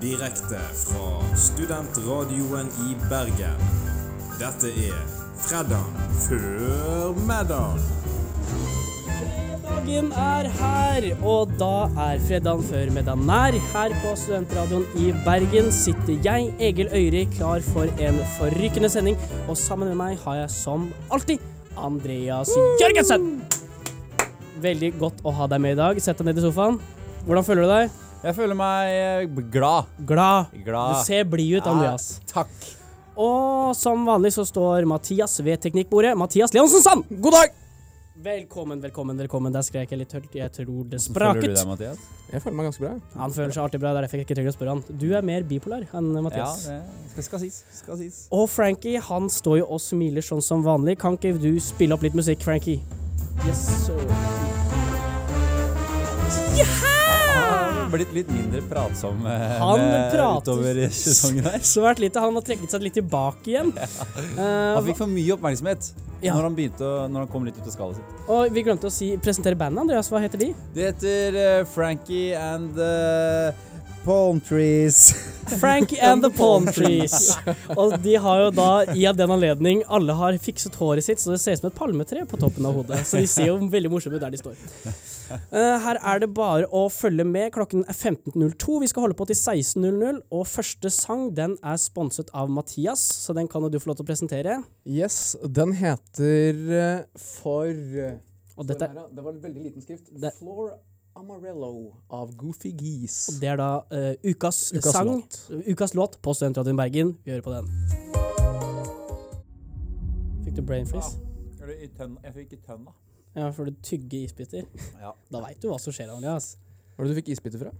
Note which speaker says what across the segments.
Speaker 1: Direkte fra studentradioen i Bergen. Dette er Fredag før middag.
Speaker 2: Dagen er her, og da er fredagen før middagen nær. Her på Studentradioen i Bergen sitter jeg, Egil Øyri, klar for en forrykende sending. Og sammen med meg har jeg som alltid Andreas Jørgensen. Veldig godt å ha deg med i dag. Sett deg ned i sofaen. Hvordan føler du deg?
Speaker 3: Jeg føler meg eh, glad.
Speaker 2: Glad.
Speaker 3: Glad.
Speaker 2: Du ser blid ut, Andreas.
Speaker 3: Ja, takk.
Speaker 2: Og som vanlig så står Mathias ved teknikkbordet. Mathias Leonsen Sand!
Speaker 3: God dag!
Speaker 2: Velkommen, velkommen, velkommen. Der skrek jeg litt høyt. Jeg tror det
Speaker 3: Føler du
Speaker 2: spraket.
Speaker 3: deg, Mathias?
Speaker 4: Jeg føler meg ganske bra.
Speaker 2: Han føler seg alltid bra, derfor jeg ikke trenger å spørre han. Du er mer bipolar enn Mathias.
Speaker 3: Ja, det skal, skal sies. Skal sies.
Speaker 2: Og Frankie, han står jo og smiler sånn som vanlig. Kan ikke du spille opp litt musikk, Frankie? Yes, sir.
Speaker 3: Han har blitt litt mindre pratsom eh,
Speaker 2: Han
Speaker 3: med-
Speaker 2: prater
Speaker 3: utover i sesongen her.
Speaker 2: Svært lite. Han har trukket seg litt tilbake igjen. Eh,
Speaker 3: Han fikk for mye oppmerksomhet
Speaker 2: Ja.
Speaker 3: når, han begynte, å- når han kom litt ut av skallet sitt.
Speaker 2: og vi glemte å si, presentere bandet, Andreas. Hva heter de?
Speaker 3: Det heter eh, Frankie and the Palm Trees.
Speaker 2: Frankie and the Palm Trees. Og de har jo da, i av den anledning, alle har fikset håret sitt, så det ser ut som et palmetre på toppen av hodet. Så de ser jo veldig morsomme ut der de står. Eh, her er det bare å følge med. Klokken er 15.02. Vi skal holde på til 16.00. Og første sang den er sponset av Mathias, så den kan jo du få lov til å presentere.
Speaker 4: Yes, den heter eh, for eh,
Speaker 2: Og dette
Speaker 4: her, ja, Det var en veldig liten skrift.
Speaker 2: Det-
Speaker 4: Floor Amarello av Goofy Geese.
Speaker 2: det er da eh, ukas,
Speaker 4: Ukas
Speaker 2: sang.
Speaker 4: låt.
Speaker 2: Ukas låt på Studentradioen Bergen. Vi hører på den. Fikk du brain freeze?
Speaker 3: Jeg fikk i tønna.
Speaker 2: Ja, for du tygger isbiter.
Speaker 3: Ja.
Speaker 2: Da veit du hva som skjer, Andreas.
Speaker 4: Hvor var det du fikk isbiter fra?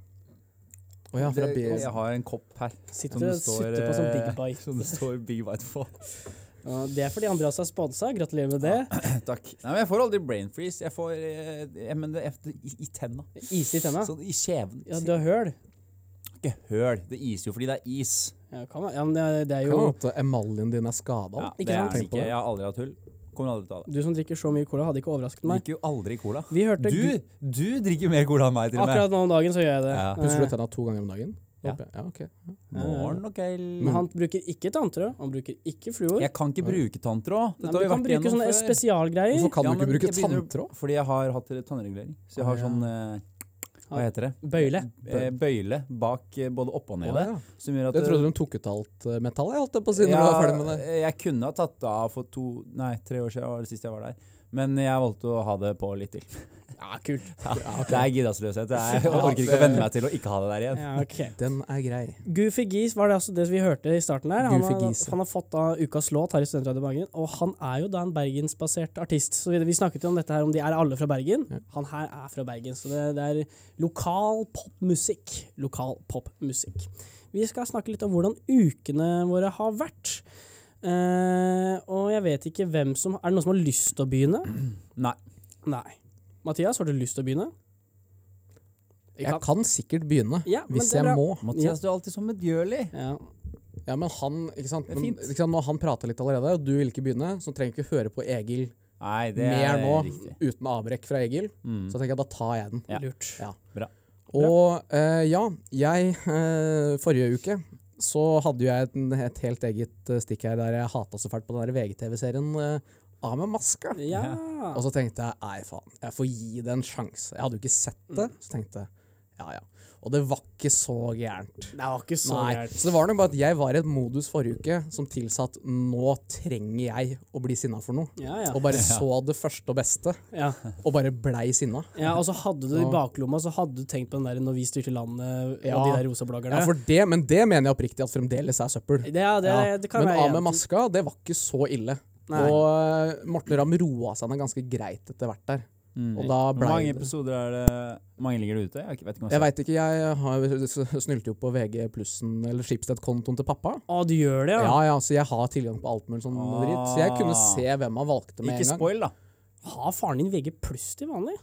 Speaker 4: Å ja, fra
Speaker 3: Det-
Speaker 4: B.
Speaker 3: Jeg har en kopp her.
Speaker 2: Sitter og sutter på sånn som Big
Speaker 3: eh,
Speaker 2: Bite.
Speaker 3: Som det står Big Bite på.
Speaker 2: Ja, Det er fordi Andreas har sponsa. Gratulerer med det.
Speaker 3: Takk. Nei, men jeg får aldri brain freeze. Jeg får eh, jeg, mener, jeg, i, i tenna.
Speaker 2: Is i tenna.
Speaker 3: Sånn i kjeven.
Speaker 2: Ja, du har høl.
Speaker 3: Ikke høl. Det iser jo fordi det er is.
Speaker 2: Ja, kan man. Ja, men det- det er
Speaker 4: Kan
Speaker 2: jo
Speaker 4: hende at emaljen din er skada.
Speaker 2: ikke
Speaker 3: det
Speaker 2: sant?
Speaker 3: er det
Speaker 4: Tenk på
Speaker 3: ikke.
Speaker 4: det.
Speaker 3: Jeg har aldri hatt hull. Kommer aldri til å ha det.
Speaker 2: Du som drikker så mye cola, hadde ikke overrasket meg.
Speaker 3: Drikker jo aldri cola.
Speaker 2: Vi hørte
Speaker 3: Du,
Speaker 2: gu-
Speaker 3: du drikker mer cola enn meg, til og med.
Speaker 2: Akkurat nå om dagen så gjør jeg det.
Speaker 3: Ja.
Speaker 4: Pusser du
Speaker 2: Eh,
Speaker 4: tenna to ganger om dagen?
Speaker 3: Ja.
Speaker 4: Håper jeg. ja ok.
Speaker 3: Morgen
Speaker 2: Men
Speaker 3: og kveld.
Speaker 2: han bruker ikke tanntråd. Han bruker ikke fluor.
Speaker 3: Mm. Jeg kan ikke bruke tanntråd.
Speaker 2: Nei, men du
Speaker 3: Dette har vi
Speaker 2: kan
Speaker 3: vært
Speaker 2: bruke
Speaker 3: igjennom
Speaker 2: sånne
Speaker 3: før.
Speaker 2: spesialgreier.
Speaker 4: Hvorfor kan
Speaker 3: Ja,
Speaker 4: du
Speaker 3: men
Speaker 4: ikke bruke
Speaker 3: jeg begynner-
Speaker 4: tanntråd?
Speaker 3: Fordi jeg har hatt tannregulering. Så jeg
Speaker 4: Å,
Speaker 3: har
Speaker 4: ja.
Speaker 3: sånn eh, Hva heter det?
Speaker 2: Bøyle.
Speaker 3: Eh, Bøyle bak eh, både opp og ned der.
Speaker 4: Å, ja.
Speaker 3: Som gjør at
Speaker 4: Jeg
Speaker 3: det-
Speaker 4: trodde de tok ut alt eh, metallet, jeg holdt jeg på å si, når du var ferdig med det.
Speaker 3: eh, Jeg kunne ha tatt det av for to, nei, tre år siden, var det sist jeg var der. Men jeg valgte å ha det på litt til.
Speaker 2: Ja, kult.
Speaker 3: Det er giddasløshet. Jeg orker ikke å venne meg til å ikke ha det der igjen.
Speaker 2: Ja, ok.
Speaker 4: Den er grei.
Speaker 2: Goofy Geese var det altså det vi hørte i starten her. Han,
Speaker 4: Goofy
Speaker 2: har,
Speaker 4: Geese, ja.
Speaker 2: han har fått da ukas låt her i Studentradioen Bergen, og han er jo da en bergensbasert artist. Så vi, vi snakket jo om dette her, om de er alle fra Bergen. Han her er fra Bergen, så det, det er lokal popmusikk. Lokal popmusikk. Vi skal snakke litt om hvordan ukene våre har vært. Eh, og jeg vet ikke hvem som Er det noen som har lyst til å begynne?
Speaker 3: Nei.
Speaker 2: Nei. Mathias, har du lyst til å begynne?
Speaker 4: Jeg kan sikkert begynne,
Speaker 2: Ja, men
Speaker 4: hvis
Speaker 2: det er
Speaker 4: jeg
Speaker 2: bra.
Speaker 4: må.
Speaker 3: Mathias, du er alltid så medgjørlig.
Speaker 2: Ja.
Speaker 4: Ja, men han, ikke sant?
Speaker 3: Det er
Speaker 4: Men,
Speaker 3: fint.
Speaker 4: ikke sant når han prata litt allerede, og du ville ikke begynne, så trenger vi ikke høre på Egil
Speaker 3: Nei, det
Speaker 4: mer
Speaker 3: er
Speaker 4: nå,
Speaker 3: riktig. Mm.
Speaker 4: uten avbrekk fra Egil. Så tenker jeg da tar jeg den.
Speaker 3: Ja.
Speaker 2: Lurt.
Speaker 4: Ja.
Speaker 3: Bra.
Speaker 4: Og eh, ja, jeg eh, Forrige uke så hadde jo jeg et, et helt eget eh, stikk her der jeg hata så fælt på den der VGTV-serien eh, Av med maska.
Speaker 2: Ja.
Speaker 4: Og så tenkte jeg nei, faen, jeg får gi det en sjanse. Jeg hadde jo ikke sett det,
Speaker 2: Mm.
Speaker 4: så tenkte jeg ja ja. Og det var ikke så gærent.
Speaker 2: Det var ikke så
Speaker 4: Nei,
Speaker 2: gærent.
Speaker 4: så det var nok bare at jeg var i et modus forrige uke som tilsa at nå trenger jeg å bli sinna for noe.
Speaker 2: Ja, ja.
Speaker 4: Og bare så det første og beste,
Speaker 2: ja.
Speaker 4: og bare blei sinna.
Speaker 2: Ja, og så hadde du det i
Speaker 4: Ja.
Speaker 2: baklomma, så hadde du tenkt på den der 'Når vi styrte landet'
Speaker 4: Ja.
Speaker 2: og de der rosa bloggerne.
Speaker 4: Ja, for det, men det mener jeg oppriktig at fremdeles er søppel.
Speaker 2: det, ja, det,
Speaker 4: Ja,
Speaker 2: det kan
Speaker 4: men
Speaker 2: være
Speaker 4: av med
Speaker 2: en-
Speaker 4: maska, det var ikke så ille.
Speaker 2: Nei.
Speaker 4: Og eh, Morten Ramm roa seg ned ganske greit etter hvert der. Og
Speaker 3: Mm.
Speaker 4: da
Speaker 3: Hvor
Speaker 4: blei
Speaker 3: mange
Speaker 4: det
Speaker 3: episoder altså. er det Mange ligger det ute? Jeg vet ikke om
Speaker 4: Jeg
Speaker 3: jeg
Speaker 4: veit ikke, jeg har s- snylte jo på VG plussen eller Schibsted-kontoen til pappa.
Speaker 2: Å, du gjør det, ja?
Speaker 4: Ja, ja, Så jeg har tilgang på alt mulig sånn
Speaker 3: Ah.
Speaker 4: dritt. Så jeg kunne se hvem han valgte
Speaker 3: Ikke
Speaker 4: med en gang.
Speaker 3: spoil, da.
Speaker 2: Har faren din VG pluss til vanlig?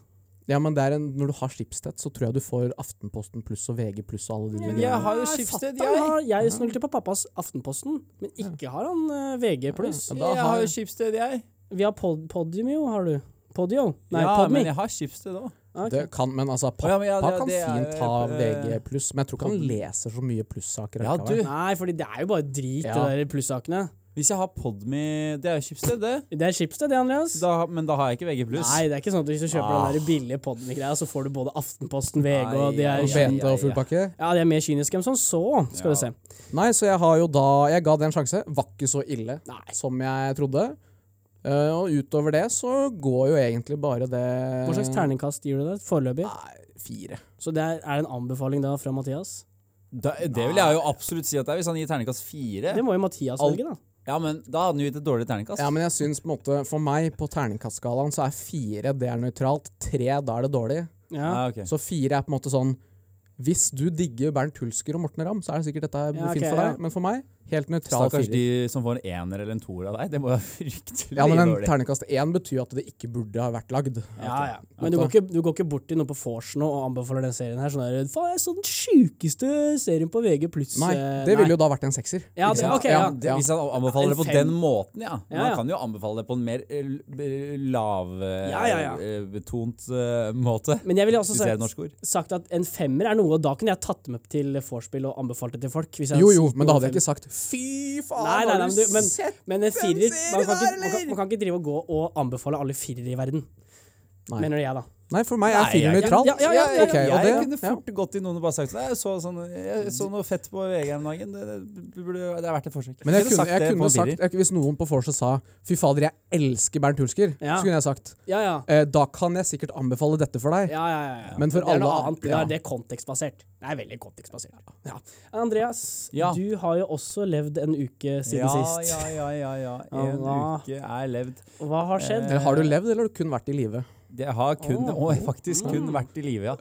Speaker 4: Ja, men det er en, Når du har Schibsted, så tror jeg du får Aftenposten pluss og VG pluss og alle de
Speaker 3: Jeg
Speaker 4: greiene.
Speaker 3: har jo
Speaker 2: Nei,
Speaker 3: Schibsted,
Speaker 2: fatter'n
Speaker 3: jeg.
Speaker 2: har- Jeg snulte på pappas Aftenposten, men ikke har han eh, VG pluss.
Speaker 4: Ja, men da
Speaker 3: Jeg har
Speaker 4: har-
Speaker 3: jo Schibsted, jeg.
Speaker 2: Vi har pod Podimio, har du? Podio? Nei,
Speaker 3: ja,
Speaker 2: Podme.
Speaker 3: men jeg har Schibsted òg.
Speaker 2: Ah, ok.
Speaker 4: Det kan, men altså, pappa
Speaker 3: ja, men ja, det-
Speaker 4: kan
Speaker 3: det er jo-
Speaker 4: fint ha VG+, men jeg tror ikke han
Speaker 3: podden.
Speaker 4: leser så mye plussaker.
Speaker 3: Ja,
Speaker 4: likevel.
Speaker 3: du.
Speaker 2: Nei, fordi det er jo bare drit,
Speaker 4: Ja.
Speaker 2: det der plussakene.
Speaker 3: Hvis jeg har Podme Det er jo Schibsted, det.
Speaker 2: Det er Schibsted, det, Andreas.
Speaker 3: Da, men da har jeg ikke VG+.
Speaker 2: Nei, det er ikke sånn at hvis du kjøper
Speaker 3: Ah.
Speaker 2: den der billige podden-greia, så får du både Aftenposten, VG
Speaker 3: Nei,
Speaker 2: og de er
Speaker 4: Og
Speaker 3: ja,
Speaker 4: BT og full pakke.
Speaker 2: Ja, de er mer kyniske enn som så, skal
Speaker 3: Ja.
Speaker 2: du se.
Speaker 4: Nei, så jeg har jo da Jeg ga det en sjanse. Var ikke så ille
Speaker 2: Nei.
Speaker 4: som jeg trodde. Eh, og utover det så går jo egentlig bare det
Speaker 2: Hva
Speaker 4: Eh.
Speaker 2: slags terningkast gir du det foreløpig?
Speaker 4: Nei, fire.
Speaker 2: Så det er, er det en anbefaling da fra Mathias?
Speaker 3: Da, det vil jeg jo absolutt si at det er, hvis han gir terningkast fire.
Speaker 2: Det må jo Mathias
Speaker 3: Al-
Speaker 2: velge, da.
Speaker 3: Ja, men da hadde han jo gitt et dårlig terningkast.
Speaker 4: Ja, men jeg syns på en måte For meg, på terningkastskalaen, så er fire det er nøytralt. Tre, da er det dårlig.
Speaker 2: Ja.
Speaker 3: Ah, ok.
Speaker 4: Så fire er på en måte sånn Hvis du digger Bernt Hulsker og Morten Ramm, så er det sikkert dette er
Speaker 2: Ja, ok,
Speaker 4: fint for deg.
Speaker 2: ja.
Speaker 4: Men for meg, helt nøytral
Speaker 3: Stakkars
Speaker 4: firer.
Speaker 3: de som får en ener eller en toer av deg. Det må jo være fryktelig
Speaker 4: Ja, men en
Speaker 3: dårlig.
Speaker 4: terningkast én betyr jo at det ikke burde ha vært lagd.
Speaker 2: Ja, ja. Men du går, ikke, du går ikke bort til noen på Force nå og anbefaler den serien her? Sånn der, Faen, det er sånn den sjukeste serien på VG pluss
Speaker 4: Nei,
Speaker 2: eh,
Speaker 4: det
Speaker 2: nei.
Speaker 4: ville jo da vært en sekser.
Speaker 2: Ja,
Speaker 4: ikke
Speaker 2: det-
Speaker 4: sant?
Speaker 2: ok, ja.
Speaker 3: Det- Hvis han
Speaker 2: En
Speaker 3: anbefaler det på
Speaker 2: fem.
Speaker 3: den måten, ja.
Speaker 2: Ja,
Speaker 3: Men
Speaker 2: ja.
Speaker 3: han kan jo anbefale det på en mer eh,
Speaker 2: Ja, ja, ja.
Speaker 3: lavbetont eh, måte.
Speaker 2: Men jeg ville også
Speaker 3: Hvis
Speaker 2: sagt,
Speaker 3: det er et norsk ord.
Speaker 2: sagt at en femmer er noe, og da kunne jeg tatt det med til vorspiel og anbefalt det til folk. Hvis jeg
Speaker 4: Jo,
Speaker 2: hadde
Speaker 4: jo,
Speaker 2: sett
Speaker 4: men da
Speaker 2: noen
Speaker 4: hadde jeg
Speaker 2: femmer.
Speaker 4: ikke sagt 'fy faen',
Speaker 2: Nei, nei, nei, men
Speaker 4: har
Speaker 2: du-
Speaker 4: du
Speaker 2: men-
Speaker 4: sett?
Speaker 2: Men en
Speaker 4: Hvem
Speaker 2: firer
Speaker 4: ser
Speaker 2: man kan,
Speaker 4: det
Speaker 2: ikke,
Speaker 4: der,
Speaker 2: man, kan, man kan ikke drive og gå og anbefale alle firere i verden.
Speaker 4: Nei.
Speaker 2: Mener jeg, da.
Speaker 4: Nei, for meg er
Speaker 3: Nei,
Speaker 4: firer
Speaker 3: jeg-
Speaker 4: nøytralt.
Speaker 2: ja, ja, ja, ja, ja.
Speaker 4: Ok, og
Speaker 3: jeg kunne
Speaker 4: det-
Speaker 3: fort gått til noen og bare sagt Nei, jeg så, sånn, jeg så noe fett på VG om dagen. Det, det, burde- det er verdt et forsøk.
Speaker 4: Men jeg kunne,
Speaker 3: sagt
Speaker 4: jeg
Speaker 3: det på
Speaker 4: kunne
Speaker 3: en
Speaker 4: sagt,
Speaker 3: firer.
Speaker 4: jeg, hvis noen på Forsa sa 'fy fader, jeg elsker Bernt Hulsker',
Speaker 2: Ja.
Speaker 4: så kunne jeg sagt
Speaker 2: Ja, ja.
Speaker 4: eh, 'da kan jeg sikkert anbefale dette for deg'.
Speaker 2: Ja, ja, ja, ja.
Speaker 4: Men for
Speaker 2: det er noe
Speaker 4: alle-
Speaker 2: annet. Det
Speaker 4: ja.
Speaker 2: er, det er kontekstbasert. Det er veldig kontekstbasert. Ja. Andreas,
Speaker 3: Ja.
Speaker 2: du har jo også levd en uke siden
Speaker 3: ja,
Speaker 2: sist.
Speaker 3: Ja, ja, ja. ja. En
Speaker 2: Allah.
Speaker 3: uke er levd.
Speaker 2: Hva har skjedd?
Speaker 3: Eh,
Speaker 4: Eller har du levd, eller har du kun vært i live?
Speaker 3: Det har kun,
Speaker 2: Åh.
Speaker 3: og faktisk kun vært i live, ja.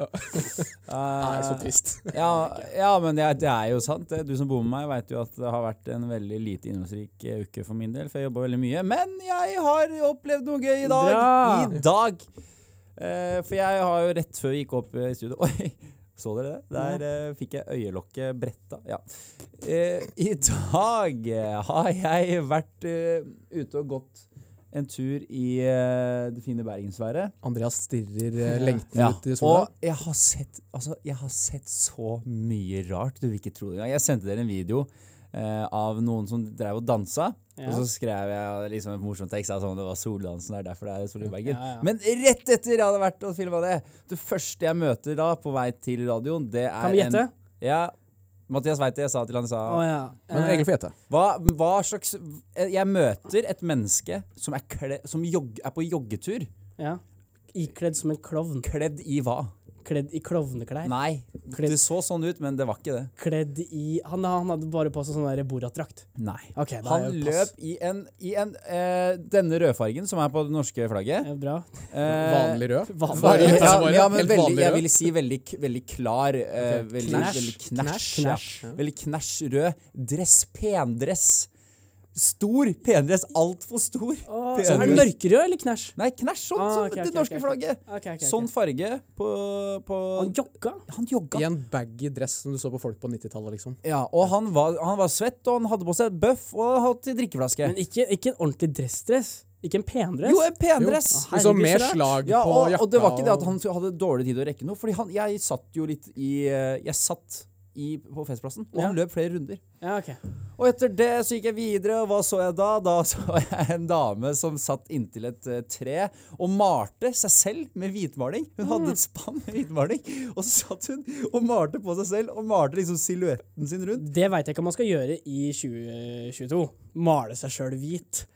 Speaker 3: Eh,
Speaker 4: trist.
Speaker 3: ja, ja, men det er, det er jo sant. det. Du som bor med meg, veit jo at det har vært en veldig lite innholdsrik eh, uke for min del, for jeg jobba veldig mye. Men jeg har opplevd noe gøy i dag!
Speaker 2: Bra!
Speaker 3: I dag! Eh, for jeg har jo rett før vi gikk opp eh, i studio Oi! Så dere det? Der eh, fikk jeg øyelokket bretta. Ja. Eh, I dag eh, har jeg vært eh, ute og gått en tur i eh, det fine bergensværet.
Speaker 4: Andreas stirrer eh, lengten
Speaker 3: Ja.
Speaker 4: ut i sola.
Speaker 3: Og jeg har, sett, altså, jeg har sett så mye rart. Du vil ikke tro det engang. Jeg sendte dere en video eh, av noen som drev og dansa.
Speaker 2: Ja.
Speaker 3: Og så skrev jeg liksom en morsom tekst. Altså, det var soldansen, det er derfor det er sol i Bergen.
Speaker 2: Ja, ja.
Speaker 3: Men rett etter jeg hadde vært og filma det, det første jeg møter da på vei til radioen, det er
Speaker 2: Kan vi gjette?
Speaker 3: En, ja, Mathias veit det. Jeg sa til han, jeg sa
Speaker 2: Å ja.
Speaker 4: Men
Speaker 2: Eh,
Speaker 4: Egil får gjette.
Speaker 3: hva, hva slags Jeg møter et menneske som er, kle, som jogg, er på joggetur.
Speaker 2: ja. Ikledd som en klovn.
Speaker 3: Kledd i hva?
Speaker 2: Kledd i klovneklær.
Speaker 3: Nei,
Speaker 2: Kledd-
Speaker 3: det så sånn ut, men det var ikke det.
Speaker 2: Kledd i Han, han hadde bare på seg sånn der Borat-drakt.
Speaker 3: Nei.
Speaker 2: Ok, da
Speaker 3: Han
Speaker 2: er det pass.
Speaker 3: løp i en, i en eh, Denne rødfargen som er på det norske flagget.
Speaker 2: Ja, bra.
Speaker 3: Eh,
Speaker 4: Vanlig rød.
Speaker 2: Vanlig
Speaker 3: Vanlig,
Speaker 4: rød.
Speaker 3: ja,
Speaker 4: Bare
Speaker 3: ja, men
Speaker 4: helt
Speaker 3: veldig,
Speaker 4: vanlig
Speaker 3: jeg
Speaker 4: rød.
Speaker 3: vil si veldig, k- veldig klar. Eh,
Speaker 4: Ok,
Speaker 3: veldig,
Speaker 4: knæsj.
Speaker 3: veldig knæsj.
Speaker 4: Knæsj,
Speaker 3: ja.
Speaker 4: knæsj, ja.
Speaker 3: Veldig knæsj rød. Dress. Pendress. Stor pendress. Altfor stor.
Speaker 2: Å,
Speaker 3: Pen-
Speaker 2: så er det mørkerød eller knæsj?
Speaker 3: Nei, knæsj sånn
Speaker 2: Ah,
Speaker 3: som
Speaker 2: ok,
Speaker 3: det
Speaker 2: ok, ok,
Speaker 3: norske
Speaker 2: ok.
Speaker 3: flagget.
Speaker 2: Ok, ok, ok.
Speaker 3: Sånn farge på, på
Speaker 2: Han jogga?
Speaker 3: Han jogga.
Speaker 4: I en baggy dress som du så på folk på 90-tallet, liksom.
Speaker 3: Ja, og han var, han var svett, og han hadde på seg et bøff og han hadde drikkeflaske.
Speaker 2: Men ikke, ikke en ordentlig dressdress? Ikke en pendress?
Speaker 3: Jo, en pendress!
Speaker 2: Jo.
Speaker 4: Liksom
Speaker 2: herregud, så
Speaker 4: med
Speaker 2: rart.
Speaker 4: slag
Speaker 3: Ja,
Speaker 4: på
Speaker 3: og,
Speaker 4: jakka.
Speaker 3: og det var ikke det at han hadde dårlig tid å rekke noe, Fordi han, jeg satt jo litt i eh, Jeg satt i, på festplassen, og han
Speaker 2: Ja.
Speaker 3: løp flere runder.
Speaker 2: Ja, ok.
Speaker 3: Og etter det så gikk jeg videre, og hva så jeg da? Da så jeg en dame som satt inntil et eh, tre og malte seg selv med hvitmaling. Hun hadde et spann med hvitmaling, og så satt hun og malte på seg selv, og malte liksom silhuetten sin rundt.
Speaker 2: Det veit jeg ikke om man skal gjøre i 2022. Male seg sjøl hvit.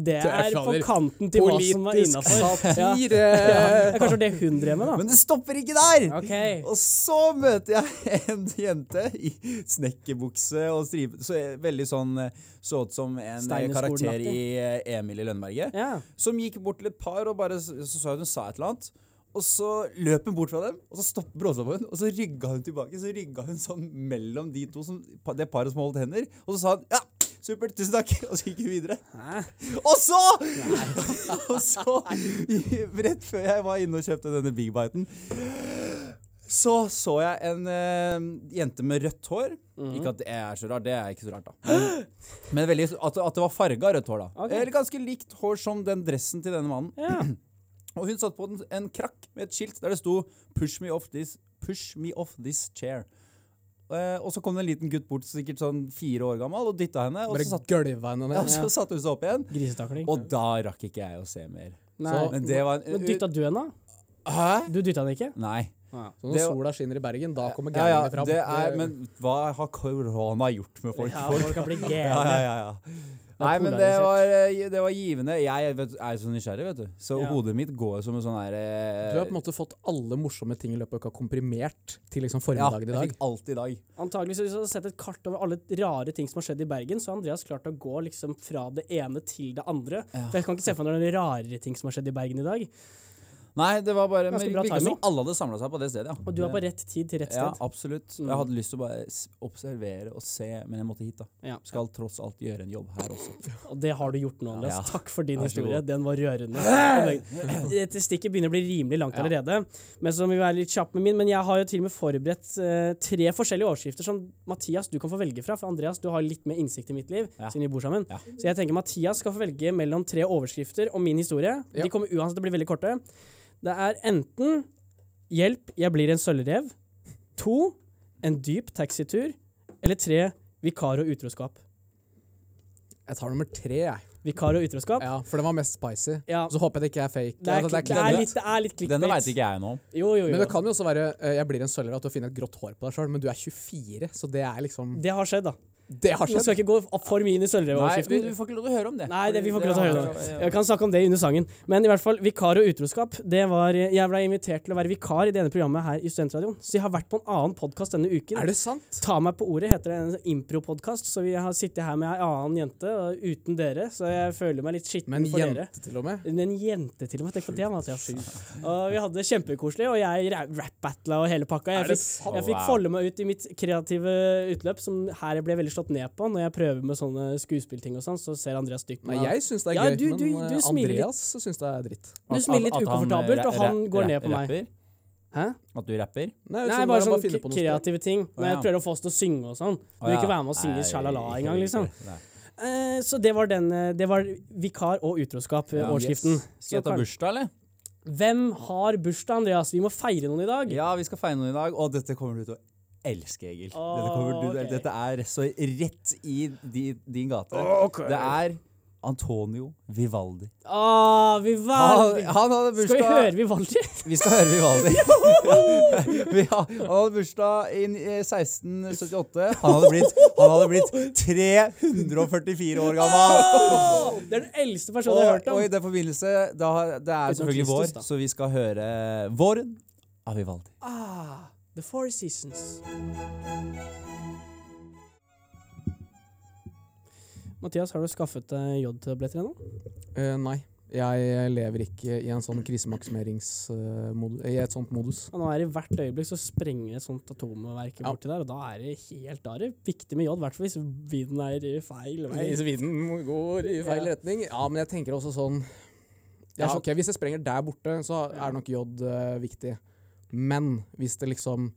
Speaker 2: Det er på
Speaker 4: fader.
Speaker 2: kanten til hva som var innafor. Ja. Det er kanskje det hun drev med, da.
Speaker 3: Men det stopper ikke der!
Speaker 2: Ok.
Speaker 3: Og så møter jeg en jente i snekkerbukse og stripe så jeg- Veldig sånn eh, Så ut som en eh, karakter i eh, Emil i Lønneberget.
Speaker 2: Ja.
Speaker 3: Som gikk bort til et par og bare s- så så jeg hun sa et eller annet. Og så løp hun bort fra dem, og så stopp- bråstoppa hun, og så rygga hun tilbake. Så rygga hun sånn mellom de to, som, pa- det paret som holdt hender, og så sa hun ja, supert, tusen takk, og så gikk hun videre.
Speaker 2: Hæ?
Speaker 3: Og så Og så, i- rett før jeg var inne og kjøpte denne Big Biten, så så jeg en eh, jente med rødt hår. Ikke at det er så rart, det er ikke så rart, da. Men veldig, at, at det var farga rødt hår, da.
Speaker 2: Ok.
Speaker 3: Eller ganske likt hår som den dressen til denne mannen.
Speaker 2: Ja.
Speaker 3: Og hun satt på en, en krakk med et skilt der det sto 'Push me off this, push me off this chair'. Eh, og så kom det en liten gutt bort, sikkert sånn fire år gammel, og dytta henne. Og
Speaker 4: Bare
Speaker 3: så, satt,
Speaker 4: gølva henne
Speaker 3: ja, og
Speaker 4: ned.
Speaker 3: så satte hun seg opp igjen.
Speaker 2: Grisetakling.
Speaker 3: Og da rakk ikke jeg å se mer.
Speaker 2: Nei.
Speaker 3: Men det var en
Speaker 2: Men dytta du henne?
Speaker 3: Hæ?
Speaker 2: Du dytta henne ikke?
Speaker 3: Nei.
Speaker 4: Så når
Speaker 3: det-
Speaker 4: sola skinner i Bergen, da kommer
Speaker 3: Ja, ja,
Speaker 4: gærningene fram.
Speaker 3: det er, men hva har korona gjort med folk?
Speaker 2: Ja,
Speaker 3: Folk-
Speaker 2: folk kan bli
Speaker 3: ja, ja,
Speaker 2: gærne.
Speaker 3: ja, ja. Nei, men det
Speaker 2: polarisert.
Speaker 3: var, eh, det var givende. Jeg vet, er jo så nysgjerrig, vet du. Så
Speaker 2: Ja.
Speaker 3: hodet mitt går som en sånn her eh,
Speaker 4: Du har på en måte fått alle morsomme ting i løpet av uka komprimert til liksom
Speaker 3: Ja,
Speaker 4: formiddagen i
Speaker 3: jeg
Speaker 4: dag.
Speaker 3: fikk alt i dag.
Speaker 2: Antageligvis hvis du hadde sett et kart over alle rare ting som har skjedd i Bergen, så har Andreas klart å gå liksom fra det ene til det andre. For jeg kan ikke se for meg noen rarere ting som har skjedd i Bergen i dag.
Speaker 3: Nei, det var bare men
Speaker 2: Ganske
Speaker 3: Det
Speaker 2: bra
Speaker 3: virket
Speaker 2: timing.
Speaker 3: som alle hadde samla seg på det stedet. Ja.
Speaker 2: Og du er på rett tid til rett
Speaker 3: Ja,
Speaker 2: sted. Mm.
Speaker 3: absolutt. Jeg hadde lyst til å bare s- observere og se, men jeg måtte hit, da.
Speaker 2: Ja.
Speaker 3: Skal tross alt gjøre en jobb her også.
Speaker 2: Og det har du gjort nå, Andreas.
Speaker 3: Ja.
Speaker 2: Takk for din
Speaker 3: Vær så
Speaker 2: historie.
Speaker 3: god.
Speaker 2: Den var rørende. Dette stikket begynner å bli rimelig langt
Speaker 3: Ja.
Speaker 2: allerede. Men så må vi være litt kjapp med min. Men jeg har jo til og med forberedt eh, tre forskjellige overskrifter som Mathias du kan få velge fra. For Andreas, du har litt mer innsikt i mitt liv,
Speaker 3: Ja.
Speaker 2: siden vi bor sammen.
Speaker 3: Ja.
Speaker 2: Så jeg tenker Mathias skal få velge mellom tre overskrifter om min historie.
Speaker 4: Ja.
Speaker 2: De kommer uansett til å bli veldig korte. Det er enten 'Hjelp, jeg blir en sølvrev'. To 'En dyp taxitur'. Eller tre 'Vikar og utroskap'.
Speaker 4: Jeg tar nummer tre, jeg.
Speaker 2: Vikar og utroskap.
Speaker 4: Ja, for den var mest spicy.
Speaker 2: Ja.
Speaker 4: Så håper jeg det ikke er fake.
Speaker 2: Det er,
Speaker 4: Altså,
Speaker 2: det er
Speaker 4: køddet.
Speaker 2: litt, det er litt clickbait.
Speaker 3: Denne veit ikke jeg noe om.
Speaker 2: Jo, jo, jo.
Speaker 4: Men det kan jo også være eh, Jeg blir en sølver at du finner et grått hår på deg sjøl, men du er 24, så det er liksom
Speaker 2: Det har skjedd, da.
Speaker 4: Det
Speaker 2: Nå
Speaker 4: har
Speaker 2: skal jeg
Speaker 4: skjedd.
Speaker 2: ikke gå opp for mye inn i
Speaker 3: Nei, vi,
Speaker 2: sølvrevoverskriften.
Speaker 3: vi får ikke lov til å høre om det.
Speaker 2: Nei, det, vi får
Speaker 3: Fordi
Speaker 2: ikke lov til å høre
Speaker 3: det.
Speaker 2: det.
Speaker 3: har-
Speaker 2: Jeg kan snakke om det under sangen. Men i hvert fall, vikar og utroskap. Det var, jeg ble invitert til å være vikar i det ene programmet her i Studentradioen. Så jeg har vært på en annen podkast denne uken.
Speaker 4: Er det sant?
Speaker 2: Ta meg på ordet heter det en impro-podkast, så vi har sittet her med ei annen jente og uten dere, så jeg føler meg litt skitten
Speaker 4: Med en
Speaker 2: for dere.
Speaker 4: jente, til og med.
Speaker 2: Men En jente til og med. Tenk på det, Mathias. Og vi hadde det kjempekoselig, og jeg ra- rap-battla og hele pakka.
Speaker 4: Er
Speaker 2: Jeg
Speaker 4: det
Speaker 2: fikk,
Speaker 4: sant?
Speaker 2: jeg fikk
Speaker 3: Wow.
Speaker 2: folde meg ut i mitt kreative utløp, som her jeg ble veldig slått ned på når jeg prøver med sånne skuespillting og sånn, så ser Andreas stygt på
Speaker 4: Nei,
Speaker 2: meg.
Speaker 4: jeg syns det er
Speaker 2: Ja,
Speaker 4: gøy,
Speaker 2: du- du-
Speaker 4: men
Speaker 2: du
Speaker 4: eh,
Speaker 2: smiler litt.
Speaker 4: Andreas syns det er dritt.
Speaker 2: Du smiler litt
Speaker 3: At- at han,
Speaker 2: ukomfortabelt, og
Speaker 3: eh,
Speaker 2: han
Speaker 3: ra-
Speaker 2: går
Speaker 3: ra-
Speaker 2: ned på meg.
Speaker 3: rapper?
Speaker 2: Hæ?
Speaker 3: At du rapper?
Speaker 4: Nei,
Speaker 2: Nei,
Speaker 4: sånn
Speaker 2: bare
Speaker 4: når han
Speaker 2: sånn
Speaker 4: finner på
Speaker 2: k-
Speaker 4: noe sprøtt.
Speaker 2: kreative ting. Når jeg
Speaker 3: Å, ja.
Speaker 2: prøver å få oss til å synge og sånn. Du vil
Speaker 3: Å,
Speaker 2: ikke
Speaker 3: ja.
Speaker 2: være med og synge
Speaker 3: Nei,
Speaker 2: 'sjalala'
Speaker 3: ikke
Speaker 2: engang,
Speaker 3: riktig.
Speaker 2: liksom.
Speaker 3: Nei.
Speaker 2: Eh, Så det var den eh, Det var vikar og utroskap, eh,
Speaker 3: Ja,
Speaker 2: overskriften. Så
Speaker 3: Skal jeg ta
Speaker 2: kan-
Speaker 3: bursdag, eller?
Speaker 2: Hvem har bursdag, Andreas? Vi må feire noen i dag.
Speaker 3: Ja, vi skal feire noe i dag, og dette kommer du til å elske, Egil. Dette, kommer du,
Speaker 2: ok.
Speaker 3: dette er så rett i di, din gate. Det er Antonio Vivaldi.
Speaker 2: Åh, vi var
Speaker 3: Han, han hadde
Speaker 2: Skal vi
Speaker 3: bursdag
Speaker 2: høre Vivaldi?
Speaker 3: Vi skal høre Vivaldi. Vi har- han hadde bursdag i ni- eh, 1678. Han hadde blitt, han hadde blitt 344 år gammel.
Speaker 2: Det er den eldste personen jeg har
Speaker 3: Og,
Speaker 2: hørt om.
Speaker 3: og i den forbindelse, da, det er
Speaker 2: Utenom
Speaker 3: sånn selvfølgelig
Speaker 2: Kristus, da.
Speaker 3: vår, så vi skal høre Våren av Vivaldi.
Speaker 2: Ah, the Four Seasons. Mathias, har du skaffet deg jodtabletter ennå?
Speaker 4: Eh, nei. Jeg lever ikke i en sånn krisemaksimeringsmodus. I et sånt modus.
Speaker 2: Og Nå er det hvert øyeblikk så sprenger et sånt atomverk
Speaker 4: Ja.
Speaker 2: borti der, og da er det helt da er det viktig med jod, i hvert fall hvis vinen er i feil vei.
Speaker 4: Sviden går i
Speaker 2: feil
Speaker 4: retning. Ja, men jeg tenker også sånn
Speaker 2: er
Speaker 4: ja,
Speaker 2: så-
Speaker 4: ok, Hvis det sprenger der borte, så er nok jod eh, viktig. Men hvis det liksom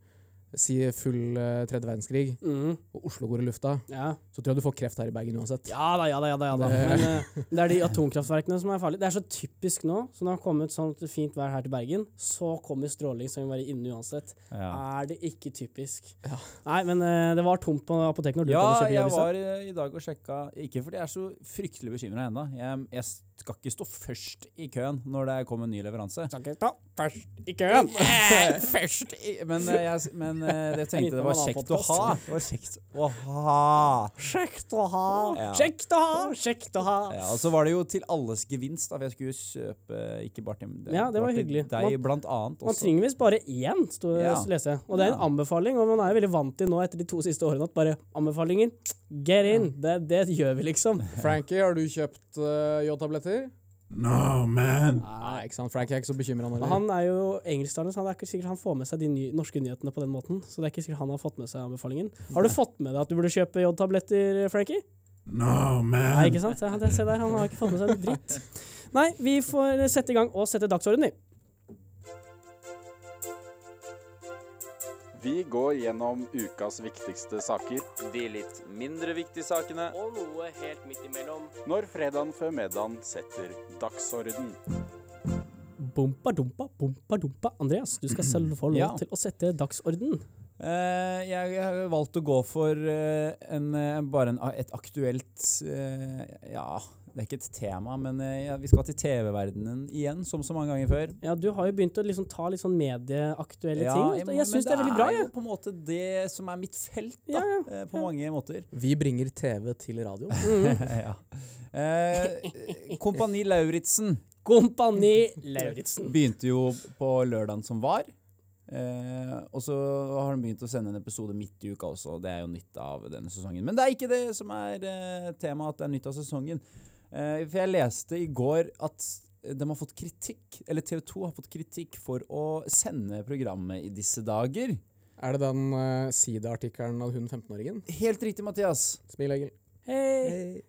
Speaker 4: sier full eh, tredje verdenskrig,
Speaker 2: Mm,
Speaker 4: og Oslo går i lufta,
Speaker 2: ja.
Speaker 4: så tror jeg du får kreft her i Bergen uansett.
Speaker 2: ja da, ja da, ja da. Ja, da. Men eh, det er de atomkraftverkene som er farlige. Det er så typisk nå, så når det har kommet sånt fint vær her til Bergen, så kommer stråling som vil være inne uansett. Er det ikke typisk?
Speaker 4: Ja.
Speaker 2: Nei, men eh, det var tomt på apoteket når du
Speaker 3: Ja,
Speaker 2: kom og kjøpte
Speaker 3: jeg
Speaker 2: avisa.
Speaker 3: var eh, i dag og sjekka Ikke fordi jeg er så fryktelig bekymra ennå. Jeg, jeg skal ikke stå først i køen når det kommer en ny leveranse.
Speaker 2: Skal ikke ta først i køen.
Speaker 3: Først i, men, eh, jeg, men eh, jeg tenkte det var kjekt å ha. Det var kjekt å ha.
Speaker 2: Kjekt å ha,
Speaker 3: Ja.
Speaker 2: kjekt å ha, kjekt å ha.
Speaker 3: Ja, og så var det jo til alles gevinst, da, for jeg skulle kjøpe ikke bare til
Speaker 2: Ja, det var
Speaker 3: til
Speaker 2: hyggelig.
Speaker 3: Deg, blant annet.
Speaker 2: Man
Speaker 3: Også.
Speaker 2: trenger visst bare én, sto det
Speaker 3: Ja.
Speaker 2: leser jeg. Og det er en
Speaker 3: Ja.
Speaker 2: anbefaling, og man er jo veldig vant til nå etter de to siste årene at bare anbefalinger, get in, det, det gjør vi liksom.
Speaker 4: Frankie, har du kjøpt uh, jodtabletter?
Speaker 1: No, man.
Speaker 4: Nei, ikke sant. Frankie er ikke så bekymra nå.
Speaker 2: Han er jo engelsktalende, så han er ikke sikkert han får med seg de ny norske nyhetene på den måten. Så det er ikke sikkert han har fått med seg anbefalingen. Har du fått med deg at du burde kjøpe jodtabletter, Frankie?
Speaker 1: No, man.
Speaker 2: Nei, ikke sant? Se, han- se der, han har ikke fått med seg en dritt. Nei, vi får sette i gang og sette dagsorden, vi.
Speaker 5: Vi går gjennom ukas viktigste saker
Speaker 6: De litt mindre viktige sakene
Speaker 2: Og noe helt midt imellom.
Speaker 5: når fredagen før middagen setter dagsorden.
Speaker 2: Bompa dumpa, bompa dumpa. Andreas, du skal selv få lov
Speaker 3: Ja.
Speaker 2: til å sette dagsorden.
Speaker 3: Eh, jeg har valgt å gå for eh, en, eh, bare en, et aktuelt eh, Ja, det er ikke et tema, men eh, ja, vi skal til TV-verdenen igjen, som så mange ganger før.
Speaker 2: Ja, du har jo begynt å liksom ta litt sånn medieaktuelle
Speaker 3: Ja,
Speaker 2: ting. og
Speaker 3: men
Speaker 2: Jeg syns det er veldig bra,
Speaker 3: Det er
Speaker 2: jeg.
Speaker 3: jo på en måte det som er mitt felt, da.
Speaker 2: Ja, ja,
Speaker 3: eh, På mange måter.
Speaker 4: Vi bringer TV til radio.
Speaker 2: Mm.
Speaker 3: ja. eh, Kompani Lauritzen
Speaker 2: Kompani Lauritzen.
Speaker 3: begynte jo på lørdagen som var. Eh, og så har de begynt å sende en episode midt i uka også. og Det er jo nytt av denne sesongen. Men det er ikke det som er eh, temaet, at det er nytt av sesongen. Eh, for jeg leste i går at de har fått kritikk, eller TV 2 har fått kritikk for å sende programmet i disse dager.
Speaker 4: Er det den uh, sideartikkelen av hun 15-åringen?
Speaker 3: Helt riktig, Mathias.
Speaker 4: Smil, Egil.
Speaker 2: Hei.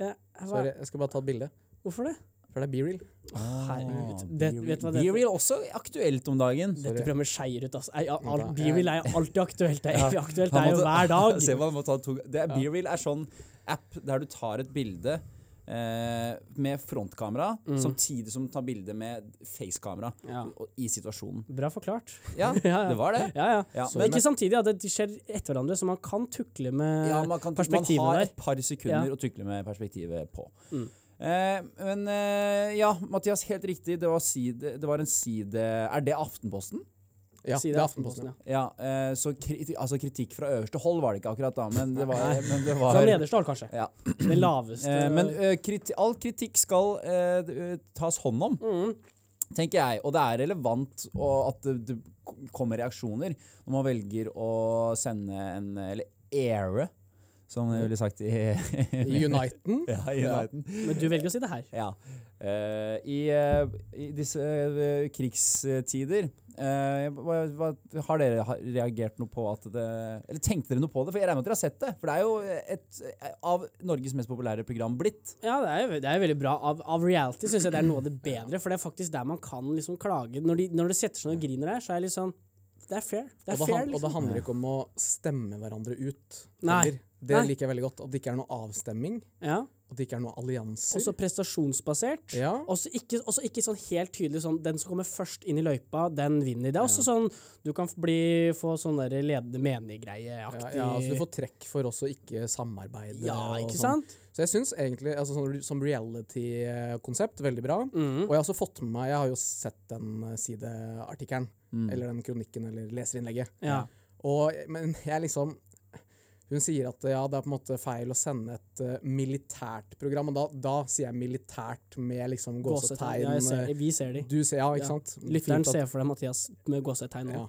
Speaker 2: Ja, hva?
Speaker 4: Sorry, jeg skal bare ta et bilde.
Speaker 2: Hvorfor det?
Speaker 4: For det er be-real.
Speaker 2: Herregud. Det, vet du hva det
Speaker 3: Be Real også aktuelt om dagen.
Speaker 2: Dette programmet skeier ut, altså. Nei, ja,
Speaker 4: Ja,
Speaker 2: alt- Be
Speaker 4: jeg-
Speaker 2: real er jo alltid aktuelt. Det er evig aktuelt. Det
Speaker 3: Han
Speaker 2: er jo
Speaker 4: altså,
Speaker 3: måtte-
Speaker 2: hver
Speaker 3: Se
Speaker 2: dag.
Speaker 3: hva han må ta to det er, Be Real er sånn app der du tar et bilde eh, med frontkamera samtidig som du tar bilde med facekamera
Speaker 2: Mm. Ja.
Speaker 3: og- i situasjonen.
Speaker 2: Bra forklart.
Speaker 3: Ja,
Speaker 2: Ja, ja.
Speaker 3: det var det.
Speaker 2: Ja, ja.
Speaker 3: Ja,
Speaker 2: Men
Speaker 3: men-
Speaker 2: ikke samtidig. Ja. Det skjer etter hverandre, så man kan tukle med
Speaker 3: Ja, man, kan, man
Speaker 2: perspektivet
Speaker 3: har
Speaker 2: der.
Speaker 3: et par sekunder
Speaker 2: Ja.
Speaker 3: å tukle med perspektivet på.
Speaker 2: Mm.
Speaker 3: Eh, men eh, ja, Mathias, helt riktig. Det var, side, det var en side Er det Aftenposten?
Speaker 4: Ja,
Speaker 2: Side
Speaker 4: det er Aftenposten.
Speaker 2: ja.
Speaker 3: Ja. Eh, så kriti, altså kritikk fra øverste hold var det ikke akkurat da, men det var, men det var
Speaker 2: Fra nederste hold, kanskje.
Speaker 3: Ja.
Speaker 2: Det laveste.
Speaker 3: Eh, men eh, kriti all kritikk skal eh, d- eh, tas hånd om,
Speaker 2: Mm.
Speaker 3: tenker jeg. Og det er relevant og at det, det k- kommer reaksjoner når man velger å sende en Eller aire, som det ville sagt i
Speaker 4: Uniten.
Speaker 3: ja, i verden.
Speaker 2: Men du velger å si det her.
Speaker 3: Ja. Eh, i, eh, I disse eh, krigstider eh, hva, hva, Har dere ha- reagert noe på at det Eller tenkte dere noe på det? For jeg regner med at dere har sett det. For det er jo et av Norges mest populære program blitt.
Speaker 2: Ja, det er, det er veldig bra. Av, av reality syns jeg det er noe av det bedre, for det er faktisk der man kan liksom klage. Når, de, når det setter seg ned og griner der, så er jeg litt sånn Det er fair. Det er
Speaker 4: Og det,
Speaker 2: fair,
Speaker 4: han, og det
Speaker 2: liksom.
Speaker 4: handler ikke om å stemme hverandre ut.
Speaker 2: Nei.
Speaker 4: heller. Det
Speaker 2: Nei.
Speaker 4: liker jeg veldig godt. At det ikke er noe avstemming.
Speaker 2: liksom. Ja.
Speaker 4: At det ikke er noe allianser.
Speaker 2: Også prestasjonsbasert.
Speaker 4: ja.
Speaker 2: Også ikke, også ikke sånn helt tydelig sånn Den som kommer først inn i løypa, den vinner. Det er også sånn Du kan bli, få sånn der ledende
Speaker 4: Ja,
Speaker 2: menig-greie-aktig.
Speaker 4: ja, altså du får trekk for også ikke samarbeide.
Speaker 2: Ja,
Speaker 4: og
Speaker 2: ikke
Speaker 4: sånn.
Speaker 2: sant?
Speaker 4: Så jeg syns egentlig altså, sånn, som reality-konsept veldig bra.
Speaker 2: Mhm.
Speaker 4: Og jeg har også fått med meg Jeg har jo sett den eh, sideartikkelen. Eller den kronikken eller leserinnlegget.
Speaker 2: Mhm. Ja.
Speaker 4: Og, men jeg liksom Hun sier at ja, det er på en måte feil å sende et eh, militært program. Og da, da sier jeg militært med liksom
Speaker 2: Gåsetegn. Ja, jeg
Speaker 4: gåsetegn.
Speaker 2: ser,
Speaker 4: eh,
Speaker 2: de. vi ser de.
Speaker 4: du ser, ja,
Speaker 2: Ja.
Speaker 4: ikke sant?
Speaker 2: Lytteren
Speaker 4: Fint at-
Speaker 2: ser for deg Mathias med gåsetegn nå.
Speaker 4: ja,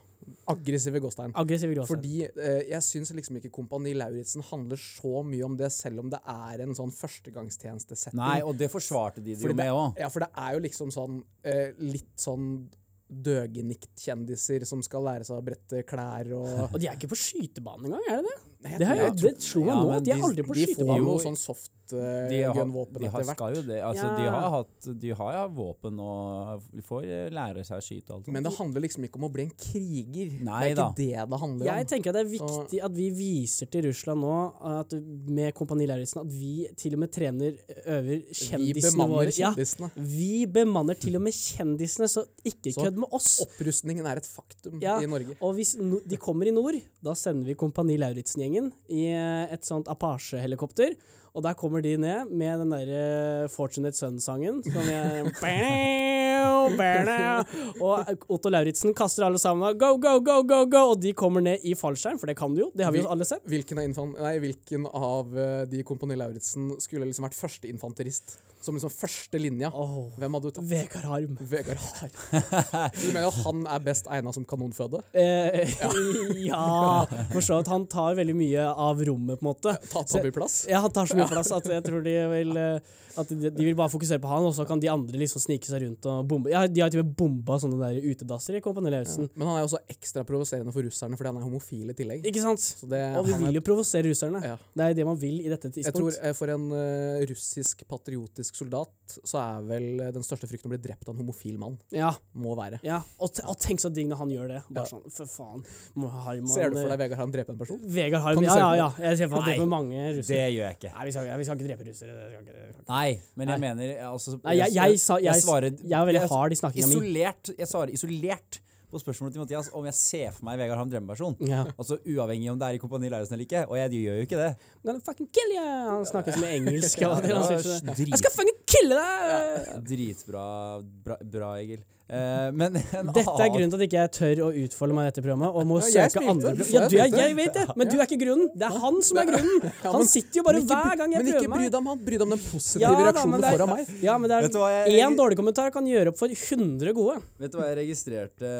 Speaker 4: Aggressive gåstein.
Speaker 2: Aggressive gåsetegn.
Speaker 4: Fordi eh, jeg syns liksom ikke Kompani Lauritzen handler så mye om det, selv om det er en sånn førstegangstjenestesetting.
Speaker 3: Nei, og det forsvarte de Mm. det jo
Speaker 4: Fordi det-
Speaker 3: med òg.
Speaker 4: Ja, for det er jo liksom sånn eh, litt sånn døgenikt-kjendiser som skal lære seg å brette klær og
Speaker 2: Og de er ikke på skytebanen engang, er det det?
Speaker 4: Nei, jeg
Speaker 2: Det, har
Speaker 4: tror-
Speaker 2: jeg, det slo meg
Speaker 3: Ja,
Speaker 2: nå,
Speaker 3: men
Speaker 2: at de
Speaker 3: de-
Speaker 2: er aldri på
Speaker 4: De får
Speaker 2: skytebanen.
Speaker 4: jo
Speaker 3: jo-
Speaker 4: sånn soft
Speaker 3: De
Speaker 4: eh,
Speaker 3: har,
Speaker 4: gun-våpen
Speaker 3: de har,
Speaker 4: etter hvert.
Speaker 3: skal jo det. Altså, de,
Speaker 2: Ja.
Speaker 3: har hatt, de har jo våpen og de får eh, lære seg å skyte og alt sånt.
Speaker 4: Men det handler liksom ikke om å bli en kriger.
Speaker 3: Nei
Speaker 4: det er
Speaker 3: da.
Speaker 4: ikke det det handler
Speaker 2: Jeg
Speaker 4: om.
Speaker 2: tenker at det er viktig at vi viser til Russland nå, at med Kompani Lauritzen, at vi til og med trener, øver
Speaker 4: Vi
Speaker 2: kjendisene
Speaker 4: bemanner
Speaker 2: våre. Ja,
Speaker 4: kjendisene.
Speaker 2: vi bemanner til og med kjendisene, så ikke
Speaker 4: Så-
Speaker 2: kødd med oss.
Speaker 4: Opprustningen er et faktum
Speaker 2: Ja,
Speaker 4: i Norge.
Speaker 2: Og hvis no de kommer i nord, da sender vi Kompani Lauritzen-gjengen i eh, et sånt Apache-helikopter. Og der kommer de ned med den derre Fortunate Son-sangen. Som jeg Bæu, bæu. Og eh, Otto Lauritzen kaster alle sammen go, go, go, go, go! Og de kommer ned i fallskjerm, for det kan du jo. Det har vi jo alle sett.
Speaker 4: Hvilken av, infan nei, hvilken av eh, de i Kompani Lauritzen skulle liksom vært førsteinfanterist? Som liksom første linja.
Speaker 2: Åh,
Speaker 4: Hvem hadde du tatt?
Speaker 2: Vegard Harm.
Speaker 4: Vegard Harm. Du mener jo han er best egna som kanonføde?
Speaker 2: Eh, ja, for så vidt. Han tar veldig mye av rommet, på en måte.
Speaker 4: Ta
Speaker 2: Så-
Speaker 4: tabbyplass?
Speaker 2: Ja, han tar så mye plass at jeg tror de vil eh, At de, de vil bare fokusere på han, og så kan de andre liksom snike seg rundt og bombe. Ja, de har til og med bomba sånne der utedasser i Kompani Lauritzen.
Speaker 4: Men han er jo også ekstra provoserende for russerne fordi han er homofil i tillegg.
Speaker 2: Ikke sant?
Speaker 4: Så det,
Speaker 2: Og vi
Speaker 4: han er,
Speaker 2: vil jo provosere russerne.
Speaker 4: Ja.
Speaker 2: Det er jo det man vil i dette
Speaker 4: jeg tror
Speaker 2: tidspunkt.
Speaker 4: eh, For en eh, russisk patriotisk soldat så er vel eh, den største frykten å bli drept av en homofil mann.
Speaker 2: Ja,
Speaker 4: Må være.
Speaker 2: ja. Og, te- og tenk så digg når han gjør det. Bare
Speaker 4: Ja.
Speaker 2: sånn, for faen. Må ha, må
Speaker 4: Ser du for
Speaker 2: han,
Speaker 4: deg Vegard Harm drepe en person?
Speaker 2: Vegard har jo
Speaker 4: Kan du
Speaker 2: Ja,
Speaker 4: se
Speaker 2: ja,
Speaker 4: på-
Speaker 2: ja. Jeg ser for meg at
Speaker 3: Nei,
Speaker 2: det er mange russere.
Speaker 3: Det gjør jeg ikke.
Speaker 2: Nei, vi skal, ikke- vi skal ikke drepe russere. det skal ikke- det skal ikke.
Speaker 3: Nei, men jeg
Speaker 2: Nei.
Speaker 3: mener altså,
Speaker 2: Nei, jeg, jeg, sa, jeg,
Speaker 3: svarer-
Speaker 2: jeg er veldig
Speaker 3: jeg-
Speaker 2: hard i snakkinga mi.
Speaker 3: Isolert, jeg svarer isolert på spørsmålet til Mathias om jeg ser for meg Vegard har en drømmeperson.
Speaker 2: Ja.
Speaker 3: Altså Uavhengig om det er i Kompani Lauritzen eller ikke. Og jeg gjør jo ikke det.
Speaker 2: Gonna fucking kill you! Han snakker som engelsk. Ja,
Speaker 3: det
Speaker 2: han
Speaker 3: var
Speaker 2: sier sånn,
Speaker 3: drit-
Speaker 2: jeg skal fucking kille deg!
Speaker 3: Dritbra, bra, bra Egil. Eh, men en
Speaker 2: Dette er
Speaker 3: annen-
Speaker 2: grunnen til at ikke jeg tør å utfolde meg i dette programmet og må
Speaker 4: Ja, jeg
Speaker 2: søke
Speaker 4: smilte.
Speaker 2: andre
Speaker 4: Du sa
Speaker 2: Ja,
Speaker 4: jeg
Speaker 2: du, jeg,
Speaker 4: smilte.
Speaker 2: jeg vet det, men du er ikke grunnen. Det er han som er grunnen. Han sitter jo bare
Speaker 4: Men ikke bry-
Speaker 2: hver gang jeg
Speaker 4: Men ikke
Speaker 2: prøver
Speaker 4: bry
Speaker 2: meg.
Speaker 4: deg om han, bry deg om den positive
Speaker 2: Ja, da, men
Speaker 4: reaksjonen du
Speaker 2: det er-
Speaker 4: får av meg.
Speaker 2: Ja, men det
Speaker 3: Vet du hva,
Speaker 2: er
Speaker 3: jeg-
Speaker 2: én dårlig kommentar kan gjøre opp for 100 gode.
Speaker 3: Vet du hva jeg registrerte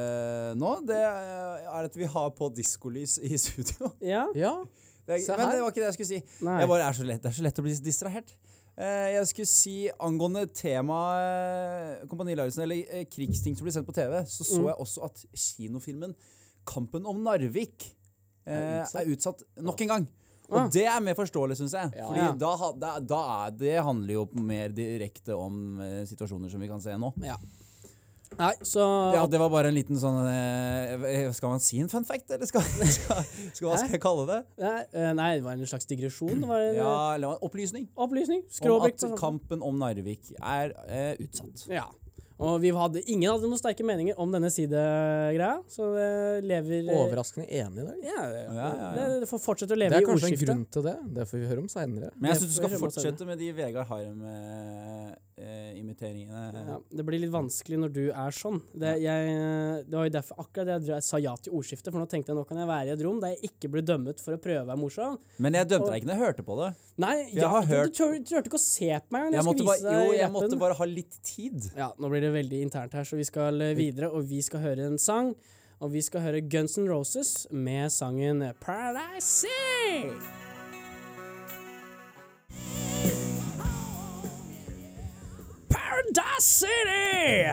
Speaker 3: nå? Det er at vi har på diskolys i studio.
Speaker 2: Ja.
Speaker 4: Ja,
Speaker 3: Det er,
Speaker 4: Se
Speaker 3: men
Speaker 4: her.
Speaker 3: det var ikke det jeg skulle si.
Speaker 2: Nei.
Speaker 3: Jeg bare er så lett, det er så lett å bli distrahert. Eh, jeg skulle si angående temaet eh, Kompani Lauritzen, eller eh, krigsting som blir sendt på TV, så så jeg også at kinofilmen Kampen om Narvik eh, er, utsatt. nok en gang. Og
Speaker 2: Ah.
Speaker 3: det er mer forståelig, syns jeg.
Speaker 4: Ja.
Speaker 3: Fordi
Speaker 2: Ja.
Speaker 3: da, ha- da, da er det handler jo mer direkte om eh, situasjoner som vi kan se nå.
Speaker 2: Nei, så
Speaker 3: Ja, det var bare en liten sånn eh, eh, Skal man si en fun fact, eller skal, skal, skal, hva skal jeg kalle det?
Speaker 2: Nei, eh, Nei, det var en slags digresjon. Det var en
Speaker 3: Ja,
Speaker 2: eh,
Speaker 3: eller en opplysning.
Speaker 2: opplysning.
Speaker 3: Om
Speaker 2: Skråblikk.
Speaker 3: at
Speaker 4: sånn-
Speaker 3: kampen om Narvik er eh, utsatt.
Speaker 2: Ja. Og vi hadde, ingen hadde noen sterke meninger om denne sidegreia, så det lever eh,
Speaker 4: Overraskende enig i dag.
Speaker 2: Ja, det,
Speaker 3: Ja, ja, ja.
Speaker 2: Det, det får fortsette å
Speaker 4: Det
Speaker 2: leve i
Speaker 4: er kanskje en
Speaker 2: ordskiftet.
Speaker 4: grunn til det. Det får vi høre om seinere.
Speaker 3: Men jeg syns du
Speaker 2: Det
Speaker 3: skal
Speaker 2: får jeg
Speaker 3: fortsette med de Vegard eh, Harem-imiteringene.
Speaker 2: Ja, det blir litt vanskelig når du er sånn. Det, jeg, det var jo derfor akkurat det jeg drev- sa ja til ordskiftet, for nå tenkte jeg nå kan jeg være i et rom der jeg ikke blir dømmet for å prøve å være morsom.
Speaker 3: Men jeg dømte deg ikke når jeg hørte på det.
Speaker 2: Nei,
Speaker 3: Jeg har
Speaker 2: ja, du,
Speaker 3: hørt-
Speaker 2: du, tør, du turte ikke å se på meg når jeg,
Speaker 3: Jeg måtte
Speaker 2: skulle vise
Speaker 3: bare,
Speaker 2: deg
Speaker 3: jo, jeg
Speaker 2: rappen.
Speaker 3: måtte bare ha litt tid.
Speaker 2: Ja, nå blir det veldig internt her, så vi skal eh, videre, og vi skal høre en sang. Og vi skal høre Guns N' Roses med sangen Paradise City. Paradise City!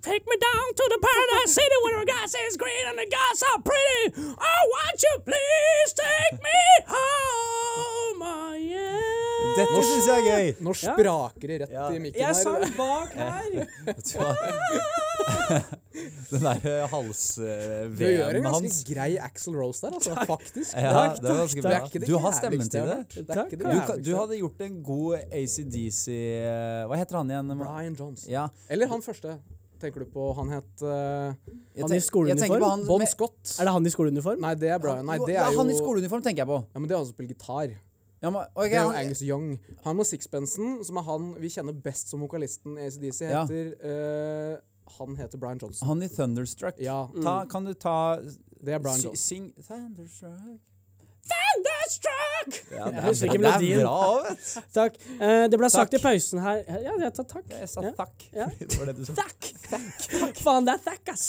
Speaker 2: Take me down to the paradise city where the grass is green and the guys are pretty. Oh, won't you please take me home? Oh, yeah.
Speaker 3: Dette syns jeg er gøy.
Speaker 4: Nå spraker det rett
Speaker 3: Ja.
Speaker 4: i mikken
Speaker 2: Jeg
Speaker 4: her.
Speaker 2: sang bak her.
Speaker 3: Vet du hva? Den eh, derre
Speaker 4: Du gjør en
Speaker 3: halsveven
Speaker 4: ganske
Speaker 3: hans.
Speaker 4: grei Axl Rose der, altså. Faktisk.
Speaker 3: Ja, det var ganske
Speaker 4: Det
Speaker 3: bra.
Speaker 4: er ikke det
Speaker 3: Du har stemmen
Speaker 4: jævligste jeg
Speaker 3: til det.
Speaker 4: har hørt. Det er ikke det
Speaker 2: Takk.
Speaker 3: Du, kan- du
Speaker 4: jævligste.
Speaker 3: hadde gjort en god ACDC eh, Hva heter han igjen?
Speaker 4: Brian Jones.
Speaker 3: Ja.
Speaker 4: Eller han første. Tenker du på han het eh,
Speaker 3: Jeg
Speaker 2: Han i
Speaker 3: tenk- jeg tenker på
Speaker 2: skoleuniform?
Speaker 3: han
Speaker 4: Bon
Speaker 3: med-
Speaker 4: Scott?
Speaker 2: Er det han i skoleuniform?
Speaker 4: Nei, det er Brian. Nei,
Speaker 3: Jo,
Speaker 4: det
Speaker 3: ja,
Speaker 4: er jo
Speaker 3: Han i skoleuniform tenker jeg på.
Speaker 4: Ja, men det er han som spiller gitar.
Speaker 3: Ja, men, ok,
Speaker 4: Det er jo
Speaker 3: han-
Speaker 4: Angus Young. Han med sixpensen, som er han vi kjenner best som vokalisten i ACDC,
Speaker 3: Ja.
Speaker 4: heter eh, Han heter Brian Johnson.
Speaker 3: han i Thunderstruck.
Speaker 4: Ja,
Speaker 3: Ta, kan du ta
Speaker 4: det er Brian
Speaker 3: sy,
Speaker 4: Johnson.
Speaker 3: Syng Thunderstruck.
Speaker 2: Thunderstruck!
Speaker 3: Ja,
Speaker 2: Jeg husker ikke
Speaker 3: det
Speaker 2: melodien.
Speaker 3: er bra, vet du.
Speaker 2: Takk. Eh, det ble sagt i
Speaker 3: Takk.
Speaker 2: pausen her Ja, jeg tar takk.
Speaker 3: Jeg sa
Speaker 2: Ja.
Speaker 3: takk.
Speaker 2: Ja.
Speaker 3: for det du sa.
Speaker 2: Takk! Faen, det er takk, ass!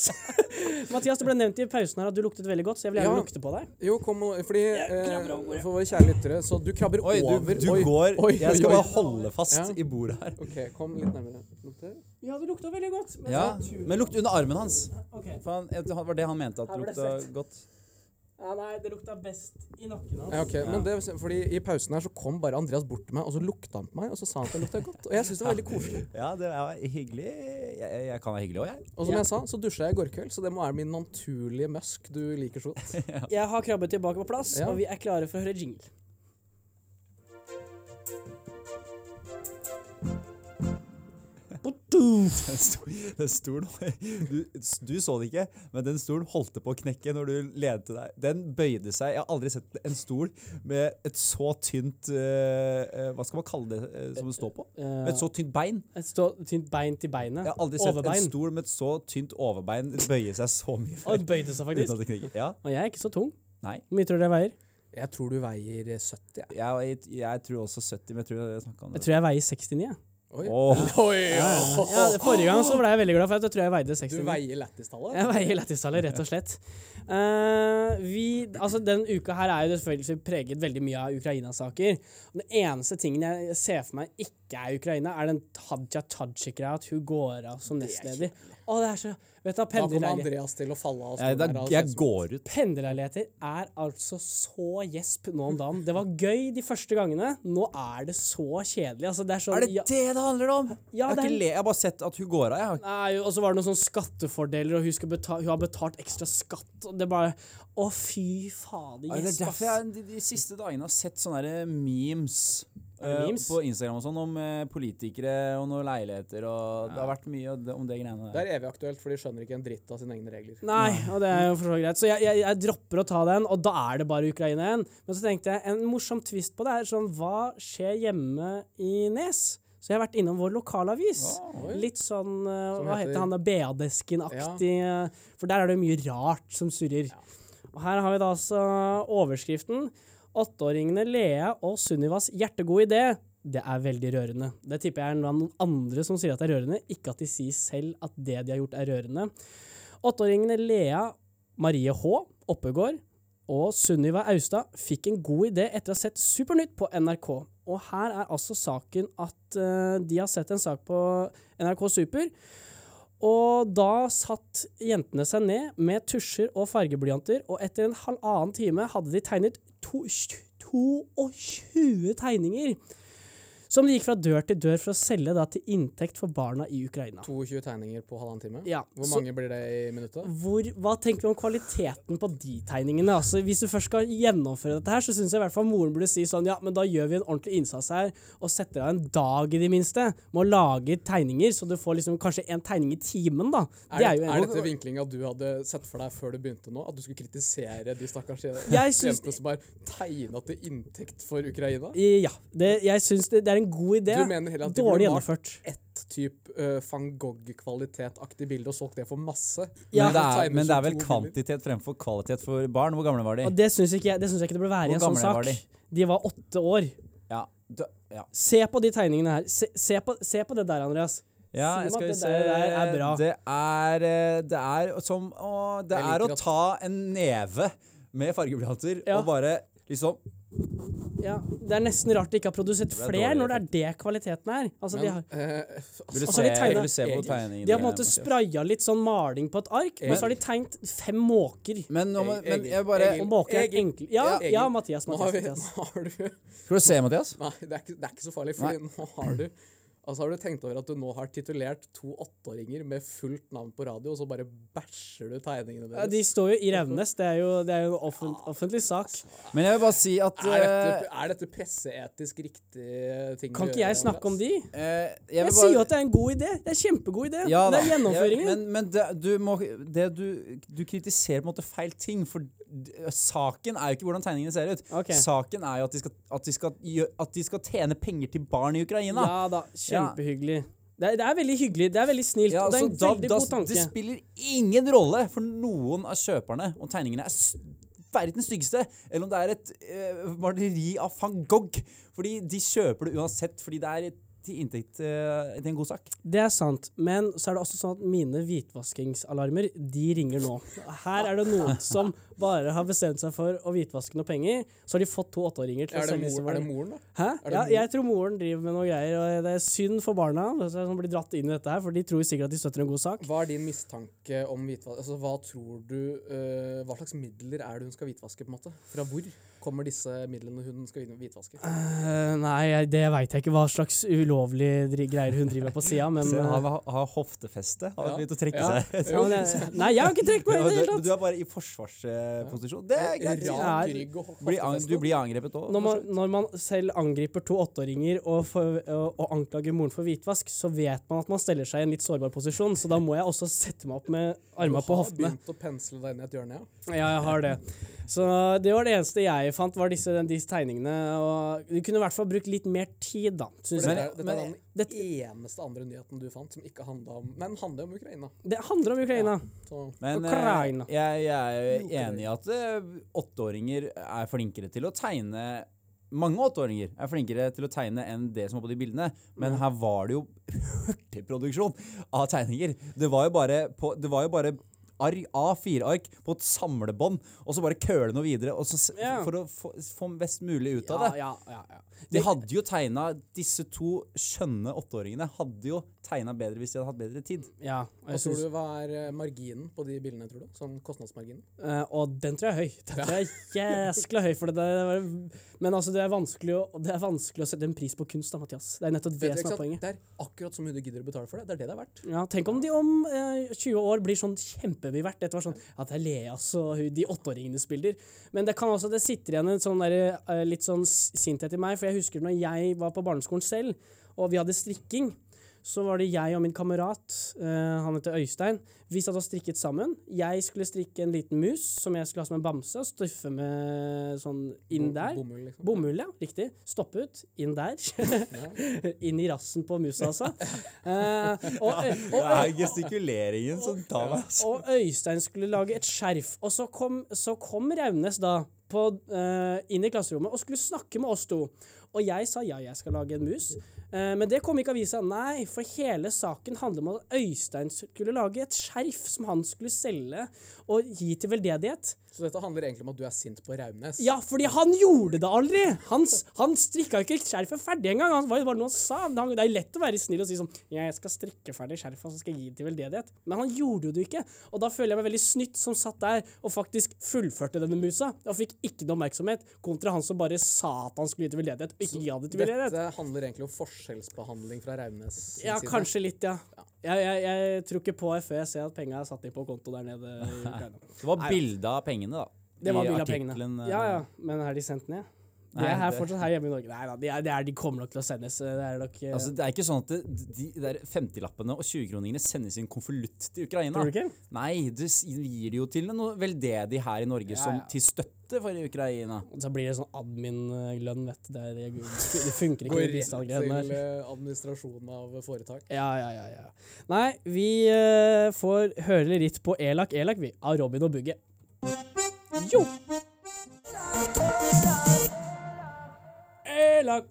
Speaker 2: Mathias, det ble nevnt i pausen her at du luktet veldig godt, så jeg vil gjerne
Speaker 4: Ja.
Speaker 2: lukte på deg.
Speaker 4: Jo, kom og Fordi eh,
Speaker 2: krabber over.
Speaker 4: For våre kjære lyttere, så du krabber
Speaker 3: Oi, du,
Speaker 4: over
Speaker 3: du
Speaker 4: oi,
Speaker 3: går
Speaker 4: oi,
Speaker 3: Jeg skal
Speaker 4: oi, oi.
Speaker 3: bare holde fast
Speaker 4: Ja.
Speaker 3: i bordet her.
Speaker 4: OK, kom litt nærmere. Lukt her.
Speaker 2: Ja, du lukta veldig godt. men
Speaker 3: Ja,
Speaker 2: så-
Speaker 3: Men lukt under armen hans.
Speaker 2: Ok.
Speaker 3: For han, det var det han mente at
Speaker 2: Her ble det
Speaker 3: lukta
Speaker 2: sett.
Speaker 3: godt.
Speaker 2: Ja, nei, det lukta best i nakken hans.
Speaker 4: Ja, ok, men det, fordi I pausen her så kom bare Andreas bort til meg, og så lukta han på meg, og så sa han at det lukta godt. Og jeg synes det var veldig koselig.
Speaker 3: Ja, det er hyggelig. Jeg, jeg- jeg kan være hyggelig òg, jeg.
Speaker 4: Og som jeg sa, så dusja jeg i går kveld, så det må være min naturlige musk du liker så godt.
Speaker 2: Jeg har krabbet tilbake på plass,
Speaker 4: Ja.
Speaker 2: og vi er klare for å høre jingle.
Speaker 3: Den sto, den stolen du, du så det ikke, men den stolen holdt på å knekke når du lente deg. Den bøyde seg. Jeg har aldri sett en stol med et så tynt eh, eh, Hva skal man kalle det eh, som den står på? Med et så tynt bein.
Speaker 2: Et stå, tynt bein til beinet.
Speaker 3: Jeg har aldri sett en
Speaker 2: Overbein.
Speaker 3: stol med et så tynt overbein bøye seg så mye.
Speaker 2: Og
Speaker 3: Før,
Speaker 2: det bøyde seg
Speaker 3: uten
Speaker 2: faktisk.
Speaker 3: at det knekker. Ja,
Speaker 2: Og jeg er ikke så tung.
Speaker 3: nei.
Speaker 2: Hvor mye tror du jeg veier?
Speaker 4: Jeg tror du veier 70, jeg.
Speaker 3: Jeg, jeg, jeg tror også 70, men jeg tror jeg snakka om
Speaker 2: Jeg
Speaker 3: det.
Speaker 2: tror jeg veier 69. jeg.
Speaker 4: Oi.
Speaker 3: Åh,
Speaker 2: Ja, det- forrige gang så ble jeg veldig glad, for at jeg tror jeg veide 69.
Speaker 4: Du veier lættistallet?
Speaker 2: Jeg veier lættistallet, rett og slett. Eh, vi, altså Den uka her er jo selvfølgelig preget veldig mye av Ukraina-saker. Og Den eneste tingen jeg ser for meg ikke er Ukraina, er den Hadia Tajik-greia, at hun går av som nestleder. Å, det er så Vet du hva,
Speaker 4: Da kommer
Speaker 2: pendlerleiligheter
Speaker 4: Andreas til å falle av
Speaker 3: Jeg,
Speaker 4: stolen.
Speaker 3: da,
Speaker 4: her, altså.
Speaker 3: jeg går ut.
Speaker 2: Pendlerleiligheter er altså så gjesp nå om dagen. Det var gøy de første gangene. Nå er det så kjedelig. Altså, det er sånn
Speaker 3: Er det
Speaker 2: ja,
Speaker 3: det det handler om?
Speaker 2: Ja,
Speaker 3: jeg, har
Speaker 2: det er-
Speaker 3: ikke le, jeg har bare sett at hun går av. Jeg.
Speaker 2: Nei, og så var det noen sånne skattefordeler, og hun, skal beta hun har betalt ekstra skatt. Og det bare Å, fy fader.
Speaker 3: Ja, det
Speaker 2: Yes,
Speaker 3: er
Speaker 2: ass.
Speaker 3: derfor jeg de, de siste dagene har sett sånne der memes.
Speaker 2: Er det
Speaker 3: eh,
Speaker 2: memes?
Speaker 3: På Instagram og sånn om eh, politikere og noen leiligheter og Det har vært mye om det- om det greiene
Speaker 4: Det
Speaker 3: der.
Speaker 4: er evig aktuelt, for de skjønner ikke en dritt av sine egne regler.
Speaker 2: Nei, og det er jo for så vidt greit. Så jeg, jeg, jeg dropper å ta den, og da er det bare Ukraina igjen. Men så tenkte jeg, en morsom twist på det er sånn Hva skjer hjemme i Nes? Så jeg har vært innom vår lokalavis. Litt sånn eh,
Speaker 4: Som
Speaker 2: Hva
Speaker 4: heter-
Speaker 2: heter han da? Beadesken-aktig. eh, For der er det jo mye rart som surrer. Og her har vi da altså overskriften. Åtteåringene Lea og Sunnivas hjertegode idé. Det er veldig rørende. Det tipper jeg er noen andre som sier at det er rørende, ikke at de sier selv at det de har gjort, er rørende. Åtteåringene Lea Marie H. Oppegård og Sunniva Austad fikk en god idé etter å ha sett Supernytt på NRK. Og her er altså saken at eh, de har sett en sak på NRK Super. Og da satt jentene seg ned med tusjer og fargeblyanter, og etter en halvannen time hadde de tegnet to- 22 tegninger. Som de gikk fra dør til dør for å selge da, til inntekt for barna i Ukraina.
Speaker 4: 22 tegninger på halvannen time.
Speaker 2: Ja,
Speaker 4: Hvor
Speaker 2: så-
Speaker 4: mange blir det i minuttet?
Speaker 2: hvor, hva tenker du om kvaliteten på de tegningene? Altså, hvis du først skal gjennomføre dette her, så syns jeg i hvert fall moren burde si sånn Ja, men da gjør vi en ordentlig innsats her, og setter av en dag i det minste med å lage tegninger, så du får liksom kanskje en tegning i timen, da.
Speaker 4: Er, det,
Speaker 2: jo en-
Speaker 4: er dette vinklinga du hadde sett for deg før du begynte nå? At du skulle kritisere de stakkars
Speaker 2: Jeg syns-
Speaker 4: jentene som har tegna til inntekt for Ukraina?
Speaker 2: Ja. Det, jeg syns det, det er en god idé.
Speaker 4: Du mener heller at de
Speaker 2: Dårlig
Speaker 4: burde malt
Speaker 2: gjennomført.
Speaker 4: Ett type eh, van Gogh-kvalitetaktig bilde og solgt det for masse.
Speaker 3: Men, det er,
Speaker 4: Tegner
Speaker 3: men det er vel
Speaker 4: 22 bilder.
Speaker 3: kvantitet fremfor kvalitet for barn. Hvor gamle var de?
Speaker 2: Og det syns ikke, jeg- det syns jeg ikke det burde være i en
Speaker 3: Hvor
Speaker 2: sånn
Speaker 3: gamle var
Speaker 2: sak.
Speaker 3: de?
Speaker 2: De var åtte år.
Speaker 3: Ja, da, ja.
Speaker 2: Se på de tegningene her. Se, se, på, se på det der, Andreas. Si
Speaker 3: ja
Speaker 2: meg
Speaker 3: jeg skal
Speaker 2: at
Speaker 3: vi
Speaker 2: det
Speaker 3: se
Speaker 2: der er bra.
Speaker 3: Det er, eh, det er som å, Det
Speaker 4: Jeg
Speaker 3: er
Speaker 4: liker
Speaker 3: å
Speaker 4: at-
Speaker 3: ta en neve med fargeblyanter
Speaker 2: Ja.
Speaker 3: og bare liksom
Speaker 2: Ja, Det er nesten rart de ikke har produsert
Speaker 3: er
Speaker 2: flere,
Speaker 3: dårlig,
Speaker 2: når det er det kvaliteten er. Altså, de, har,
Speaker 4: Eh,
Speaker 3: Vil du
Speaker 2: Altså,
Speaker 3: se,
Speaker 2: de tegner-
Speaker 3: vil du se på tegningene?
Speaker 2: de har på en måte
Speaker 3: Mathias?
Speaker 2: spraya litt sånn maling på et ark, men så har de tegnet fem måker.
Speaker 3: Men, eh, nå må,
Speaker 4: Egil,
Speaker 3: men jeg
Speaker 4: Egil,
Speaker 3: bare
Speaker 2: Og
Speaker 4: Egil.
Speaker 2: måker er
Speaker 4: Egil.
Speaker 2: enkle Ja,
Speaker 4: Ja,
Speaker 2: ja,
Speaker 4: Egil.
Speaker 2: Mathias.
Speaker 4: nå har
Speaker 2: Mathias,
Speaker 4: vi
Speaker 2: Mathias.
Speaker 4: Nå har du
Speaker 3: Skal du se, Mathias?
Speaker 4: Nei, det er ikke, det er ikke så farlig, fordi nå har du Altså Har du tenkt over at du nå har titulert to åtteåringer med fullt navn på radio, og så bare bæsjer du tegningene
Speaker 2: Ja,
Speaker 4: deres?
Speaker 2: de står jo i Revnes. Det er jo, det er jo en offent, offentlig sak.
Speaker 3: Men jeg vil bare si at
Speaker 4: Er
Speaker 3: eh,
Speaker 4: dette, er dette presseetisk riktig ting
Speaker 2: Kan ikke jeg snakke om de?
Speaker 3: eh,
Speaker 2: Jeg
Speaker 3: vil
Speaker 2: sier jo
Speaker 3: bare-
Speaker 2: at det er en god idé. Det er en kjempegod idé.
Speaker 3: Ja
Speaker 2: Men det
Speaker 3: da.
Speaker 2: er gjennomføringen.
Speaker 3: Ja, men men det, du, må, det du, du kritiserer på en måte feil ting, for d- eh, saken er jo ikke hvordan tegningene ser ut.
Speaker 2: Ok.
Speaker 3: Saken er jo at de, skal, at, de skal, gjø- at de skal tjene penger til barn i Ukraina.
Speaker 2: ja da. Kjempehyggelig. Det er, det er veldig hyggelig. Det er veldig snilt.
Speaker 3: Ja,
Speaker 2: og det er
Speaker 3: så
Speaker 2: en
Speaker 3: da-
Speaker 2: veldig
Speaker 3: da-
Speaker 2: god tanke.
Speaker 3: Det spiller ingen rolle for noen av kjøperne om tegningene er s- verdens styggeste, eller om det er et eh, maleri av van Gogh. Fordi de kjøper det uansett, fordi det er til inntekt eh, til en god sak.
Speaker 2: Det er sant, men så er det også sånn at mine hvitvaskingsalarmer, de ringer nå. Her er det noen som bare har bestemt seg for å hvitvaske noen penger, så har de fått to åtteåringer til å
Speaker 4: Er det,
Speaker 2: selge disse
Speaker 4: mor, er det
Speaker 2: varene.
Speaker 4: moren, da?
Speaker 2: Hæ?
Speaker 4: er det
Speaker 2: Ja,
Speaker 4: mor-
Speaker 2: jeg tror moren driver med noe greier, og det er synd for barna altså, som blir dratt inn i dette her, for de tror sikkert at de støtter en god sak.
Speaker 4: Hva er din mistanke om hvitvask? Altså, hva tror du eh, Hva slags midler er det hun skal hvitvaske, på en måte? Fra hvor kommer disse midlene hun skal hvitvaske?
Speaker 2: Eh, nei, jeg- det veit jeg ikke hva slags ulovlige dri- greier hun driver med på sida, men
Speaker 3: Se,
Speaker 2: eh,
Speaker 3: han har, har hoftefeste. Har
Speaker 4: Ja.
Speaker 3: begynt å trekke
Speaker 4: Ja.
Speaker 3: seg.
Speaker 2: ja, men jeg- Nei, jeg har ikke trukket meg i det hele
Speaker 3: Du,
Speaker 2: tatt!
Speaker 3: du er bare i forsvarsposisjon. Det er greit.
Speaker 4: Rak rygg og
Speaker 3: Du blir ang-
Speaker 4: hoftefeste.
Speaker 3: Du blir angrepet
Speaker 2: Når
Speaker 3: òg.
Speaker 2: man, når man selv angriper to åtteåringer og, for- og, og anklager moren for hvitvask, så vet man at man stiller seg i en litt sårbar posisjon, så da må jeg også sette meg opp med armene på
Speaker 4: Du har
Speaker 2: hoftene.
Speaker 4: begynt å pensle deg inn i et hjørne, ja?
Speaker 2: Ja, jeg har det. Så det var det eneste jeg fant, var disse, disse tegningene. Og du kunne i hvert fall brukt litt mer tid, da. Synes
Speaker 4: For
Speaker 2: jeg.
Speaker 4: dette er, dette er
Speaker 3: men-
Speaker 4: den eneste andre nyheten du fant som ikke handla om Men handler om Ukraina.
Speaker 2: Det handler om Ukraina.
Speaker 4: Så
Speaker 3: Men eh,
Speaker 2: Ukraina.
Speaker 3: jeg, jeg er jo enig i at eh, åtteåringer er flinkere til å tegne mange åtteåringer er flinkere til å tegne enn det som var på de bildene, men her var det jo hurtigproduksjon av tegninger. Det var jo bare, på, det var jo bare ark, A4-ark på et samlebånd, og så bare køle noe videre og så, s-
Speaker 2: Ja.
Speaker 3: for å få, få mest mulig ut av
Speaker 2: Ja,
Speaker 3: det.
Speaker 2: ja, ja, ja.
Speaker 3: De hadde jo tegna Disse to skjønne åtteåringene hadde jo tegna bedre hvis de hadde hatt bedre tid.
Speaker 2: Ja, og,
Speaker 4: Hva
Speaker 2: jeg
Speaker 4: tror
Speaker 2: synes,
Speaker 4: du hva er eh, marginen på de bildene, tror du? Sånn kostnadsmarginen?
Speaker 2: eh, og den tror jeg er høy. Den tror jeg er jæskla høy. For det der, men altså, det er, vanskelig å, det er vanskelig å sette en pris på kunst, da, Mathias. Det er nettopp det
Speaker 4: Vet du,
Speaker 2: som
Speaker 4: ikke
Speaker 2: er
Speaker 4: sant?
Speaker 2: poenget.
Speaker 4: Det er akkurat så mye du gidder å betale for det. Det er det det er verdt.
Speaker 2: Ja, Tenk om de om eh, 20 år blir sånn kjempemye verdt. Dette var sånn ja, det er Leas og hun- de åtteåringenes bilder. Men det kan også, det sitter igjen en sånn der, eh, litt sånn s- sinthet i meg, for jeg husker når jeg var på barneskolen selv, og vi hadde strikking, så var det jeg og min kamerat, eh, han heter Øystein, vi satt og strikket sammen. Jeg skulle strikke en liten mus som jeg skulle ha som en bamse, og støffe med sånn inn der.
Speaker 4: Bomull, liksom.
Speaker 2: Bomull, ja. Riktig. Stopp ut. Inn der. Inn i rassen på musa, altså. Eh, og,
Speaker 3: Det
Speaker 2: og,
Speaker 3: er gestikuleringen som tar meg. altså.
Speaker 2: og Øystein skulle lage et skjerf, og så kom, så kom Raunes da på, eh, inn i klasserommet og skulle snakke med oss to. Og jeg sa ja, jeg skal lage en mus. Eh, men det kom ikke avisa. Nei, for hele saken handler om at Øystein skulle lage et skjerf som han skulle selge og gi til veldedighet.
Speaker 4: Så dette handler egentlig om at du er sint på Raunes.
Speaker 2: Ja, fordi han gjorde det aldri! Han, s- han strikka ikke skjerfet ferdig engang. Han var det var noe han sa. Men han- Det er lett å være snill og si sånn «Ja, 'Jeg skal strikke ferdig skjerfet, og så skal jeg gi det til veldedighet'. Men han gjorde jo det ikke. Og da føler jeg meg veldig snytt som satt der og faktisk fullførte denne musa. Og fikk ikke noe oppmerksomhet, kontra han som bare sa at han skulle gi til veldedighet, og ikke ga det til veldedighet.
Speaker 4: Dette handler egentlig om forskjellsbehandling fra Raunes sin
Speaker 2: Ja,
Speaker 4: side.
Speaker 2: kanskje litt, ja. Jeg, jeg, jeg tror ikke på det før jeg ser at penga er satt inn på konto der nede i Ukraina.
Speaker 3: Det var bilde av pengene, da.
Speaker 2: Det var
Speaker 3: I
Speaker 2: billig av pengene.
Speaker 3: artikkelen, eh,
Speaker 2: Ja, ja, men er de sendt ned? De
Speaker 3: Nei,
Speaker 2: er her
Speaker 3: det-
Speaker 2: fortsatt her hjemme i Norge. Nei da, de, er, de, er, de kommer nok til å sendes. Det er nok eh,
Speaker 3: Altså, det er ikke sånn at det, de der 50-lappene og 20-kroningene sendes i en konvolutt til Ukraina.
Speaker 2: Tror du ikke?
Speaker 3: Nei, du s- gir det jo til noe veldedig her i Norge som
Speaker 2: ja.
Speaker 3: til støtte for Ukraina.
Speaker 2: Så blir det sånn admin-lønn, vet du. Det, er- det, det funker ikke med
Speaker 4: Går rett til
Speaker 2: bistandsgreiene der.
Speaker 4: eh, administrasjonen av foretak.
Speaker 2: Ja, ja, ja, ja. Nei, vi eh, får høre litt på Elak Elak, vi. Av Robin og Bugge. Jo! Elak,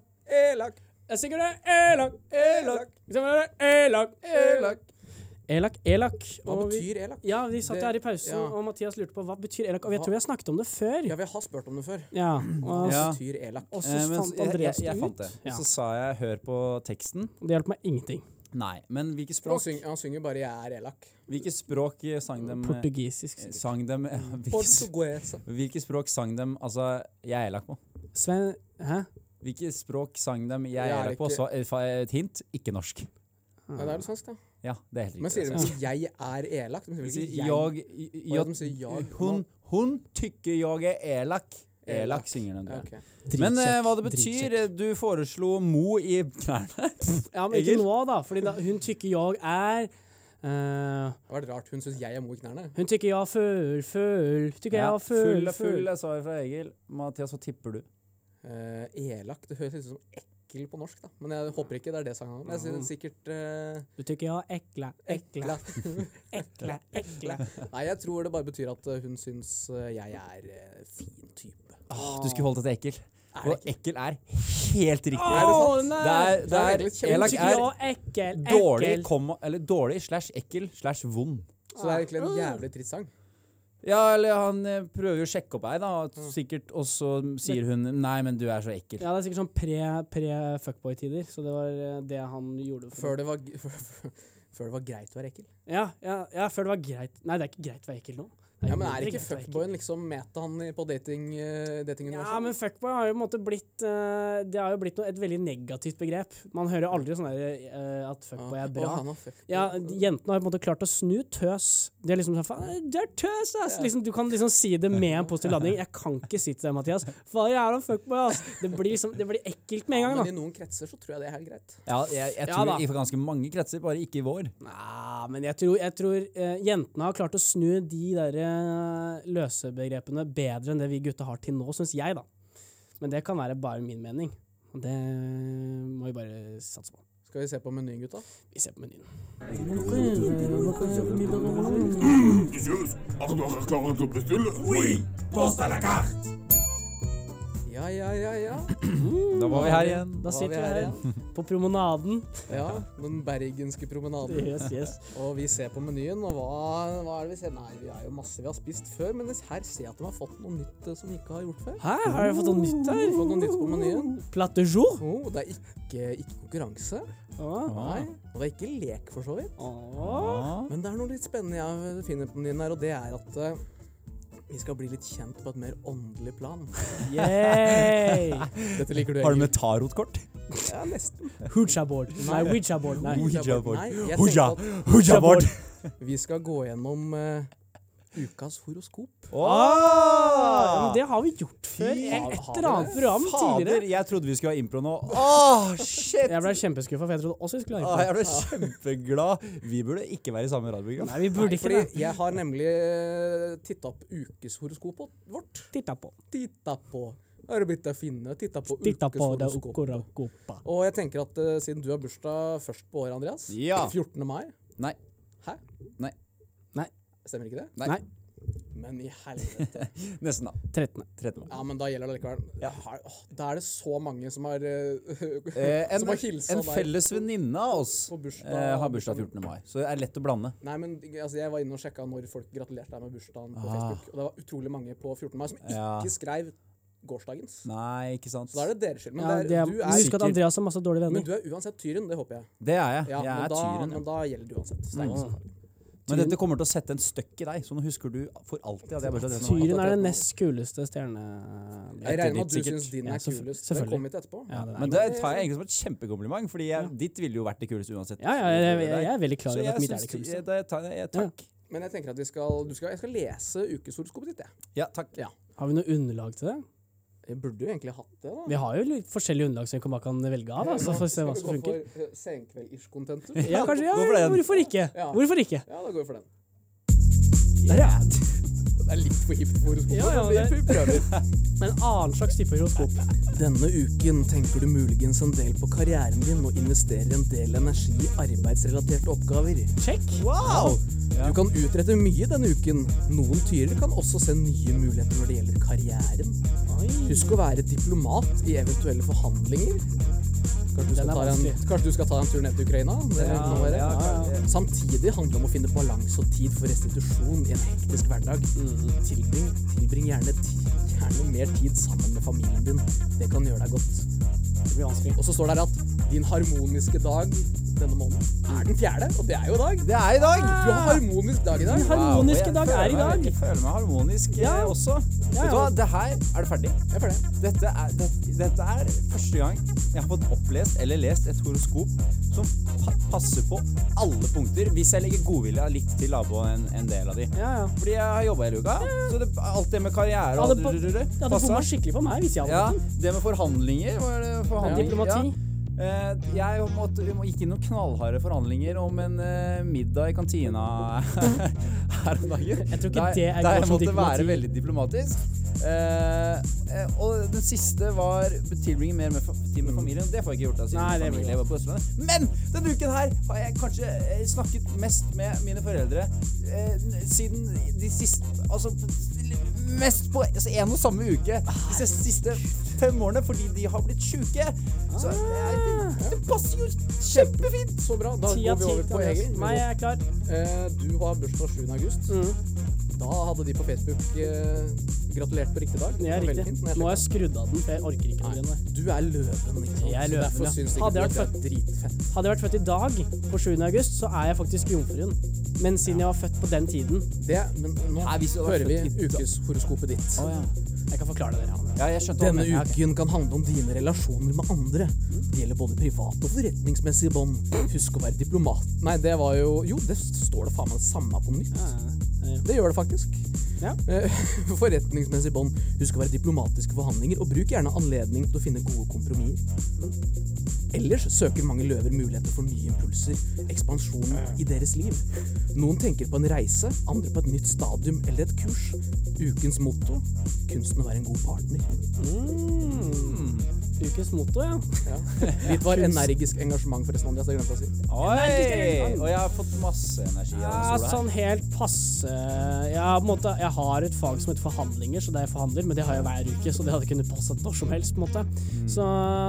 Speaker 4: Elak,
Speaker 2: jeg synger det. Elak,
Speaker 4: elak,
Speaker 2: vi skal høre Elak,
Speaker 4: elak.
Speaker 2: Elak, Elak.
Speaker 4: Hva
Speaker 2: Og vi-
Speaker 4: betyr elak?
Speaker 2: Ja, vi satt
Speaker 4: Det-
Speaker 2: her i pausen,
Speaker 4: ja.
Speaker 2: og Mathias lurte på hva betyr elak. Og jeg tror
Speaker 4: Hva-
Speaker 2: vi har snakket om det før.
Speaker 4: Ja, vi har spurt om det før.
Speaker 2: Ja, og,
Speaker 3: Mm, Ja.
Speaker 4: Hva betyr elak?
Speaker 2: og så
Speaker 3: Eh, men
Speaker 2: fant
Speaker 3: jeg, jeg,
Speaker 2: Andreas det
Speaker 3: jeg
Speaker 2: ut.
Speaker 3: fant det.
Speaker 2: Ja.
Speaker 3: Så sa jeg 'hør på teksten'.
Speaker 2: Det hjelper meg ingenting.
Speaker 3: Nei, men hvilke
Speaker 4: Han
Speaker 3: språk,
Speaker 4: synger, han synger bare 'jeg er elak'.
Speaker 3: hvilke språk eh, sang dem eh,
Speaker 2: Portugisisk.
Speaker 3: Sang dem eh, ja, hvilke, hvilke språk sang dem Altså, jeg er elak på.
Speaker 2: Sven
Speaker 3: eh,
Speaker 2: Hæ?
Speaker 3: Hvilke språk sang dem jeg
Speaker 4: Jeg
Speaker 3: er
Speaker 4: er
Speaker 3: elak på?
Speaker 4: ikke-
Speaker 3: Så eh, fa- et hint ikke norsk.
Speaker 4: Ja, det er vel svensk, da.
Speaker 3: Ja, det er helt
Speaker 4: Men
Speaker 3: riktig.
Speaker 4: sier de ikke 'jeg er elak'? De
Speaker 3: De
Speaker 4: sier
Speaker 3: sier
Speaker 4: vel ikke 'jeg'?
Speaker 3: jag,
Speaker 4: Å, ja, de sier
Speaker 3: jag,
Speaker 4: jag.
Speaker 3: hun, hun tykker jeg er elak.
Speaker 4: Elak.
Speaker 3: Elak synger den.
Speaker 4: Ja,
Speaker 3: tror jeg.
Speaker 4: ok.
Speaker 3: Men eh,
Speaker 2: Dritkjekk,
Speaker 3: hva det betyr eh, Du foreslo Mo i knærne.
Speaker 2: Ja, men ikke
Speaker 3: Egil?
Speaker 2: nå, da. Fordi da, hun tykker jeg er eh,
Speaker 4: Det var rart. Hun syns jeg er mo i knærne.
Speaker 2: Hun tykker jeg er full, full. Tykker jeg er full,
Speaker 3: full er full,
Speaker 2: full.
Speaker 3: jeg sa det fra Egil. Mathias, hva tipper du?
Speaker 4: Eh, elak. Det høres litt ut som ekkel på norsk, da. Men jeg håper ikke det er det sangen handler om. Jeg sier sikkert eh,
Speaker 2: Du tykker jeg er ekle, ekle,
Speaker 4: ekla.
Speaker 2: ekle, ekle.
Speaker 4: Nei, jeg tror det bare betyr at eh, hun syns eh, jeg er eh, fin type.
Speaker 3: Åh, du skulle holdt deg til ekkel.
Speaker 4: det
Speaker 3: Og ekkel er helt riktig.
Speaker 2: Åh,
Speaker 3: det,
Speaker 2: nei!
Speaker 3: er, det
Speaker 4: liksom- Det
Speaker 3: er
Speaker 4: er egentlig kjempe-
Speaker 2: Hun
Speaker 3: Elak
Speaker 2: tykker jeg
Speaker 3: er
Speaker 2: er liksom ekkel,
Speaker 3: dårlig,
Speaker 2: ekkel.
Speaker 3: komma, eller dårlig slash ekkel slash vond.
Speaker 4: Så det er egentlig en jævlig trist sang.
Speaker 3: Ja, eller han eh, prøver jo å sjekke opp deg, da, sikkert, og så sier hun 'nei, men du er så ekkel'.
Speaker 2: Ja, det er sikkert sånn pre- pre-fuckboy-tider, så det var eh, det han gjorde. For
Speaker 4: Før det var, g- før, før det var greit å være ekkel.
Speaker 2: Ja, ja, ja, før det var greit. Nei, det er ikke greit å være ekkel nå. Det
Speaker 4: Ja, Men er
Speaker 2: mindre greit
Speaker 4: ikke
Speaker 2: å være ekkel.
Speaker 4: fuckboyen liksom meta han i- på dating, eh, datinguniverset?
Speaker 2: Ja, men fuckboy har jo på en måte blitt eh, Det har jo blitt noe, et veldig negativt begrep. Man hører aldri sånn der eh, at fuckboy er bra.
Speaker 4: Å, han var fuck-
Speaker 2: Ja, Jentene har på en måte klart å snu tøs. De er liksom sånn Faen, du er tøs, ass! Liksom, du kan liksom si det med en positiv ladning. Jeg kan ikke si til deg, Mathias, hva er han fuckboy, ass? Det blir liksom Det blir ekkelt med en gang,
Speaker 4: Men
Speaker 2: da.
Speaker 4: i noen kretser så tror jeg det er helt greit.
Speaker 3: Ja, jeg, jeg
Speaker 2: Ja,
Speaker 3: tror
Speaker 2: da.
Speaker 3: i ganske mange kretser, bare ikke i vår.
Speaker 2: Nei, men jeg tror, jeg tror eh, jentene har klart å snu de der eh, løse begrepene bedre enn det vi gutta har til nå, syns jeg, da. Men det kan være bare min mening. Og det eh, må vi bare satse på.
Speaker 4: Skal vi se på menyen, gutta?
Speaker 2: Vi ser på menyen.
Speaker 1: Jesus, har dere klart å bestille? Oui,
Speaker 4: Ja, ja, ja, ja.
Speaker 3: Da var vi her igjen.
Speaker 2: Da
Speaker 4: Var vi
Speaker 2: sitter vi
Speaker 4: her
Speaker 2: her på promenaden.
Speaker 4: Ja, Den bergenske promenaden.
Speaker 2: Yes, yes.
Speaker 4: Og vi ser på menyen, og hva, hva er det vi ser? Nei, vi er jo masse vi har spist før, men her ser jeg at de har fått noe nytt eh, som vi ikke har gjort før.
Speaker 2: Hæ, har dere fått noe nytt her?
Speaker 4: Fått noe nytt på menyen.
Speaker 2: Plate jour?
Speaker 4: Oh, det er ikke, ikke konkurranse.
Speaker 2: Ah.
Speaker 4: Nei. Og det er ikke lek, for så vidt.
Speaker 2: Ah.
Speaker 4: Men det er noe litt spennende jeg finner på menyen her, og det er at eh, vi skal bli litt kjent på et mer åndelig plan.
Speaker 2: Yay!
Speaker 4: Dette liker du,
Speaker 3: Har du med tarotkort?
Speaker 4: Ja, nesten.
Speaker 2: Hooja board. Nei, Ouija board. Nei.
Speaker 3: Ouija board.
Speaker 4: Nei, jeg
Speaker 3: Hoja!
Speaker 4: tenkte
Speaker 3: Hoja board!
Speaker 4: at vi skal gå gjennom eh, ukas horoskop.
Speaker 2: Ja, men
Speaker 3: Åh!
Speaker 2: det har vi gjort før. i
Speaker 4: Fy
Speaker 2: Et
Speaker 4: fader.
Speaker 2: eller annet program
Speaker 3: Fader,
Speaker 2: tidligere.
Speaker 3: jeg trodde vi skulle ha impro nå. Åh, shit!
Speaker 2: Jeg ble kjempeskuffa, for jeg trodde også vi skulle
Speaker 4: Ah,
Speaker 3: Åh,
Speaker 2: ha impro.
Speaker 3: jeg ble kjempeglad. Vi burde ikke være i samme radioprogram.
Speaker 2: Nei, vi burde ikke
Speaker 4: Fordi
Speaker 2: det.
Speaker 4: jeg har nemlig uh, titta opp ukeshoroskopet vårt.
Speaker 2: Titta på.
Speaker 4: Titta på Arbeidet finne, titta på
Speaker 2: Titta på det
Speaker 4: ukeshoroskopet.
Speaker 2: okorakopa.
Speaker 4: Og jeg tenker at eh, siden du har bursdag først på året, Andreas,
Speaker 3: Ja.
Speaker 4: 14. mai
Speaker 3: Nei.
Speaker 4: Hæ?
Speaker 3: Nei.
Speaker 2: Nei.
Speaker 4: Stemmer ikke det?
Speaker 3: Nei.
Speaker 2: Nei.
Speaker 4: Men i helvete.
Speaker 3: Nesten, da.
Speaker 2: 13.
Speaker 3: 13 år.
Speaker 4: Ja, men da gjelder det likevel.
Speaker 3: Ja.
Speaker 4: Har- åh, Da er det så mange som har eh,
Speaker 3: Eh, en,
Speaker 4: Som har hilsa
Speaker 3: en
Speaker 4: deg.
Speaker 3: felles venninne av oss
Speaker 4: På bursdag-
Speaker 3: eh, har bursdag 14. mai, så det er lett å blande.
Speaker 4: Nei, men altså, jeg var inne og sjekka når folk gratulerte deg med bursdagen på
Speaker 3: Ah.
Speaker 4: Facebook. Og det var utrolig mange på 14. mai som ikke
Speaker 3: Ja.
Speaker 4: skrev gårsdagens.
Speaker 3: Nei, ikke sant.
Speaker 4: Så da er det deres skyld. Men,
Speaker 2: Ja,
Speaker 4: det
Speaker 2: det
Speaker 4: er,
Speaker 2: er,
Speaker 4: du
Speaker 2: husk
Speaker 4: er,
Speaker 2: at Andreas har masse dårlige
Speaker 4: men
Speaker 2: venner.
Speaker 4: du er uansett tyren, det håper Mm. jeg.
Speaker 3: Det er jeg.
Speaker 4: Ja, Mm.
Speaker 3: jeg
Speaker 4: men,
Speaker 3: er
Speaker 4: da,
Speaker 3: tyren.
Speaker 4: men
Speaker 3: Ja.
Speaker 4: da gjelder det uansett. Så det er ikke så farlig.
Speaker 3: Men dette kommer til å sette en støkk i deg, så nå husker du for alltid at jeg har bursdag 13.
Speaker 2: Tyren
Speaker 3: mai.
Speaker 2: er den nest kuleste stjerne...
Speaker 4: jeg regner med at du
Speaker 3: sikkert.
Speaker 4: syns din
Speaker 2: Ja,
Speaker 4: er
Speaker 2: selvfø-
Speaker 4: kulest. Det
Speaker 2: selvfølgelig.
Speaker 4: kommer vi til etterpå.
Speaker 2: Ja, det er-
Speaker 3: Men det tar jeg egentlig som et kjempekompliment, Fordi jeg, ditt ville jo vært det kuleste uansett.
Speaker 2: Ja, ja, jeg, jeg, jeg er veldig klar
Speaker 3: så
Speaker 2: over at
Speaker 3: jeg
Speaker 2: mitt er
Speaker 3: syns
Speaker 2: det kuleste.
Speaker 3: det tar jeg, jeg, Takk.
Speaker 4: Men jeg tenker at vi skal, du skal, jeg skal lese ukeshoroskopet ditt, jeg.
Speaker 3: Ja, takk.
Speaker 4: Ja.
Speaker 2: Har vi noe underlag til det?
Speaker 4: Jeg burde jo egentlig hatt det, da.
Speaker 2: Vi har jo litt forskjellige underlag som vi bare kan velge av, da, så får vi se hva som funker.
Speaker 4: Skal vi gå for eh, senkveld-ish content?
Speaker 2: Ja, kanskje, ja,
Speaker 3: Gå for den.
Speaker 2: hvorfor ikke?
Speaker 4: Ja.
Speaker 2: Hvorfor ikke?
Speaker 4: Ja, da går vi for den.
Speaker 2: Der, ja.
Speaker 4: Det er litt for hipt for horoskopet.
Speaker 2: Ja, ja,
Speaker 4: men
Speaker 2: det-
Speaker 4: vi prøver.
Speaker 2: En annen slags type horoskop.
Speaker 4: Denne uken tenker du muligens en del på karrieren din og investerer en del energi i arbeidsrelaterte oppgaver.
Speaker 2: Check.
Speaker 3: Wow!
Speaker 4: Du kan utrette mye denne uken. Noen tyrer kan også se nye muligheter når det gjelder karrieren. Husk å være diplomat i eventuelle forhandlinger. Kanskje
Speaker 2: Den
Speaker 4: du skal,
Speaker 2: er
Speaker 4: ta en,
Speaker 2: vanskelig.
Speaker 4: kanskje du skal ta en tur ned til Ukraina? Det kan være.
Speaker 3: ja, kanskje.
Speaker 4: Samtidig handler det om å finne balanse og tid for restitusjon i en hektisk hverdag.
Speaker 2: Mm.
Speaker 4: Tilbring, tilbring gjerne, ti- gjerne mer tid sammen med familien din. Det kan gjøre deg godt.
Speaker 2: Det blir vanskelig.
Speaker 4: Og så står det her at din harmoniske dag denne måneden er den fjerde, og det er jo i dag.
Speaker 3: Det er i dag!
Speaker 4: Du har harmonisk dag i dag.
Speaker 2: Har- Harmoniske dag er i dag.
Speaker 3: Jeg føler meg harmonisk eh,
Speaker 2: Ja.
Speaker 3: også. Vet du hva, det her Er det ferdig?
Speaker 4: Jeg føler det.
Speaker 3: Dette er, det, dette er første gang jeg har fått opplest eller lest et horoskop som pa passer på alle punkter, hvis jeg legger godvilja litt til labo en, en del av de.
Speaker 2: Ja, ja.
Speaker 3: Fordi jeg har jobba hele uka. Så det, alt det med karriere
Speaker 2: Jeg
Speaker 3: og
Speaker 2: hadde, bom-
Speaker 3: rurururu,
Speaker 2: jeg hadde
Speaker 3: passet.
Speaker 2: bomma skikkelig på meg hvis jeg hadde
Speaker 3: Ja,
Speaker 2: hatt den.
Speaker 3: det med forhandlinger var det forhandling?
Speaker 2: Diplomati.
Speaker 3: Ja. Eh, Jeg måtte, jeg må- gikk i noen knallharde forhandlinger om en eh, middag i kantina her om dagen.
Speaker 2: Jeg tror ikke det er
Speaker 3: Der
Speaker 2: godt
Speaker 3: jeg
Speaker 2: som
Speaker 3: måtte
Speaker 2: diplomati.
Speaker 3: være veldig diplomatisk. Eh, eh, og den siste var tilbringe mer med, fa- tid med familien. Mm. Det får jeg ikke gjort. da, siden
Speaker 2: Nei, det blir
Speaker 3: familie var på Østlandet. Men denne uken her har jeg kanskje eh, snakket mest med mine foreldre eh, n- siden de siste Altså mest på altså, en og samme uke de siste, siste fem årene fordi de har blitt sjuke. Så eh, det, det passer jo kjempefint!
Speaker 4: Så bra. Da
Speaker 2: Ti
Speaker 4: går
Speaker 2: av
Speaker 4: vi
Speaker 2: ti.
Speaker 4: over på
Speaker 2: Andreas.
Speaker 4: Egil.
Speaker 2: Nei, jeg er klar.
Speaker 4: Eh, Du har bursdag 7. august. Da hadde de på Facebook eh, gratulert på riktig dag. Mm. Det
Speaker 2: Jeg er
Speaker 4: var veldig
Speaker 2: riktig.
Speaker 4: fint, men jeg
Speaker 2: Nå har jeg skrudd av den, for jeg orker ikke noe
Speaker 4: Nei.
Speaker 2: igjen. jeg.
Speaker 4: Du er løven, ikke sant?
Speaker 2: Jeg er
Speaker 4: Så
Speaker 2: løven,
Speaker 4: Derfor
Speaker 2: ja.
Speaker 4: syns ikke
Speaker 2: Hadde
Speaker 4: du
Speaker 2: jeg
Speaker 4: at
Speaker 2: vært
Speaker 4: du er dritfett.
Speaker 2: Hadde jeg vært født i dag, på 7. august, så er jeg faktisk jomfruen. Men siden jeg var født på den tiden
Speaker 4: Det, men nå
Speaker 3: Nei, hvis du hadde
Speaker 4: hører vi
Speaker 3: vært født i dag.
Speaker 4: ukeshoroskopet ditt.
Speaker 2: Jeg kan forklare det. Ja.
Speaker 3: ja. jeg skjønte hva
Speaker 4: Denne
Speaker 3: du mente.
Speaker 4: uken kan handle om dine relasjoner med andre. Det gjelder både private og forretningsmessige bånd. Husk å være diplomat. Nei, det var jo Jo, det står det faen meg det samme på nytt. Det gjør det faktisk.
Speaker 2: Ja.
Speaker 4: Eh, Forretningsmessig bånd. Husk å være diplomatiske forhandlinger, og bruk gjerne anledning til å finne gode kompromisser. Ellers søker mange løver muligheter for nye impulser, ekspansjon i deres liv. Noen tenker på en reise, andre på et nytt stadium eller et kurs. Ukens motto kunsten å være en god partner.
Speaker 2: Mm. ukens motto, ja.
Speaker 4: Mitt var energisk engasjement, forresten. Andreas, det glemte jeg å si.
Speaker 3: Oi! Og jeg har fått masse energi av
Speaker 2: ja
Speaker 3: denne sola. her.
Speaker 2: sånn helt passe jeg, har på en måte, jeg har et fag som heter forhandlinger, så det er forhandler, men det har jeg hver uke, så det hadde kunnet passe når som helst. på en måte. Så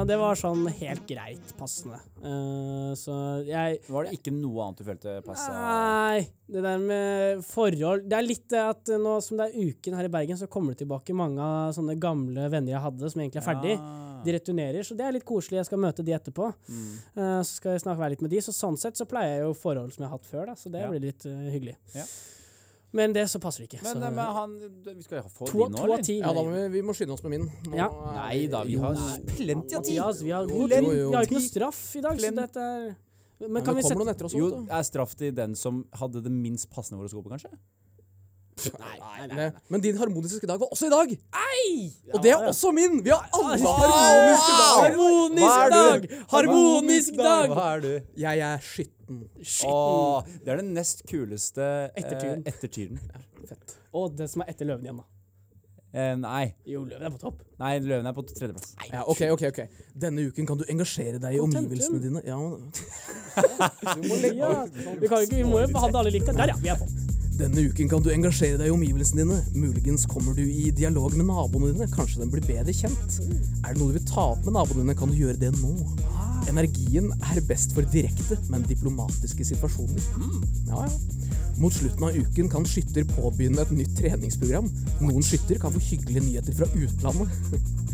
Speaker 2: det var sånn helt greit passende. Eh, så jeg
Speaker 3: Var det ikke noe annet du følte passa?
Speaker 2: Nei, det der med forhold Det er litt det at nå som det er uken her i Bergen, så kommer det tilbake mange av sånne gamle venner jeg hadde, som egentlig er ferdig. De returnerer, så det er litt koselig. Jeg skal møte de etterpå.
Speaker 3: Mm.
Speaker 2: Eh, så skal jeg snakke være litt med de. Så sånn sett så pleier jeg jo forhold som jeg har hatt før, da, så det
Speaker 3: Ja.
Speaker 2: blir litt eh, hyggelig.
Speaker 3: Ja.
Speaker 2: Men det så passer det ikke.
Speaker 3: Men,
Speaker 2: så,
Speaker 3: eh, men han Vi skal jo få
Speaker 2: to,
Speaker 3: din nå,
Speaker 2: to av
Speaker 3: eller?
Speaker 2: ti.
Speaker 4: Ja, da må vi, vi må skynde oss med min. Nå
Speaker 2: Ja.
Speaker 4: er-
Speaker 3: Nei da, vi har plenty av tid.
Speaker 2: Mathias, altså, vi har,
Speaker 4: Jo,
Speaker 2: god
Speaker 4: jo,
Speaker 2: tid.
Speaker 4: jo.
Speaker 2: vi har jo ikke noe straff i dag, så
Speaker 3: Glenn.
Speaker 2: dette er
Speaker 4: Men
Speaker 2: Men kan vi
Speaker 4: det kommer
Speaker 2: sette
Speaker 4: noen etter oss
Speaker 3: Jo,
Speaker 4: også, vet
Speaker 3: er straff til den som hadde det minst passende hvor det skulle på, kanskje?
Speaker 4: du. Men- Men din harmoniske dag var også i dag! Og det er
Speaker 2: Ja, ja.
Speaker 4: også min! Vi har alle
Speaker 2: Wow!
Speaker 4: harmoniske dager!
Speaker 3: Hva er
Speaker 2: Harmonisk dag!
Speaker 3: du?
Speaker 2: Harmonisk dag!
Speaker 3: Hva er du?
Speaker 4: Jeg er skitten.
Speaker 3: Åh, det er den nest kuleste eh,
Speaker 2: Ettertyren.
Speaker 3: ettertyren.
Speaker 2: Og det som er etter løven igjen, da.
Speaker 3: Eh, nei.
Speaker 2: Jo, løven er på topp.
Speaker 3: nei, løven er på tredjeplass.
Speaker 4: Ja, ok, ok, ok. Denne uken kan du engasjere deg i
Speaker 2: Contentum.
Speaker 4: omgivelsene dine. Ja,
Speaker 2: Ja, vi, kan jo ikke, vi må jo behandle alle likt. her. Der, ja. Vi er på.
Speaker 4: Denne uken kan du engasjere deg i omgivelsene dine. Muligens kommer du i dialog med naboene dine. Kanskje den blir bedre kjent. Er det noe du vil ta opp med naboene dine, kan du gjøre det nå. Energien er best for direkte, men diplomatiske situasjoner. Ja, ja. Mot slutten av uken kan skytter påbegynne et nytt treningsprogram. Noen skytter kan få hyggelige nyheter fra utlandet.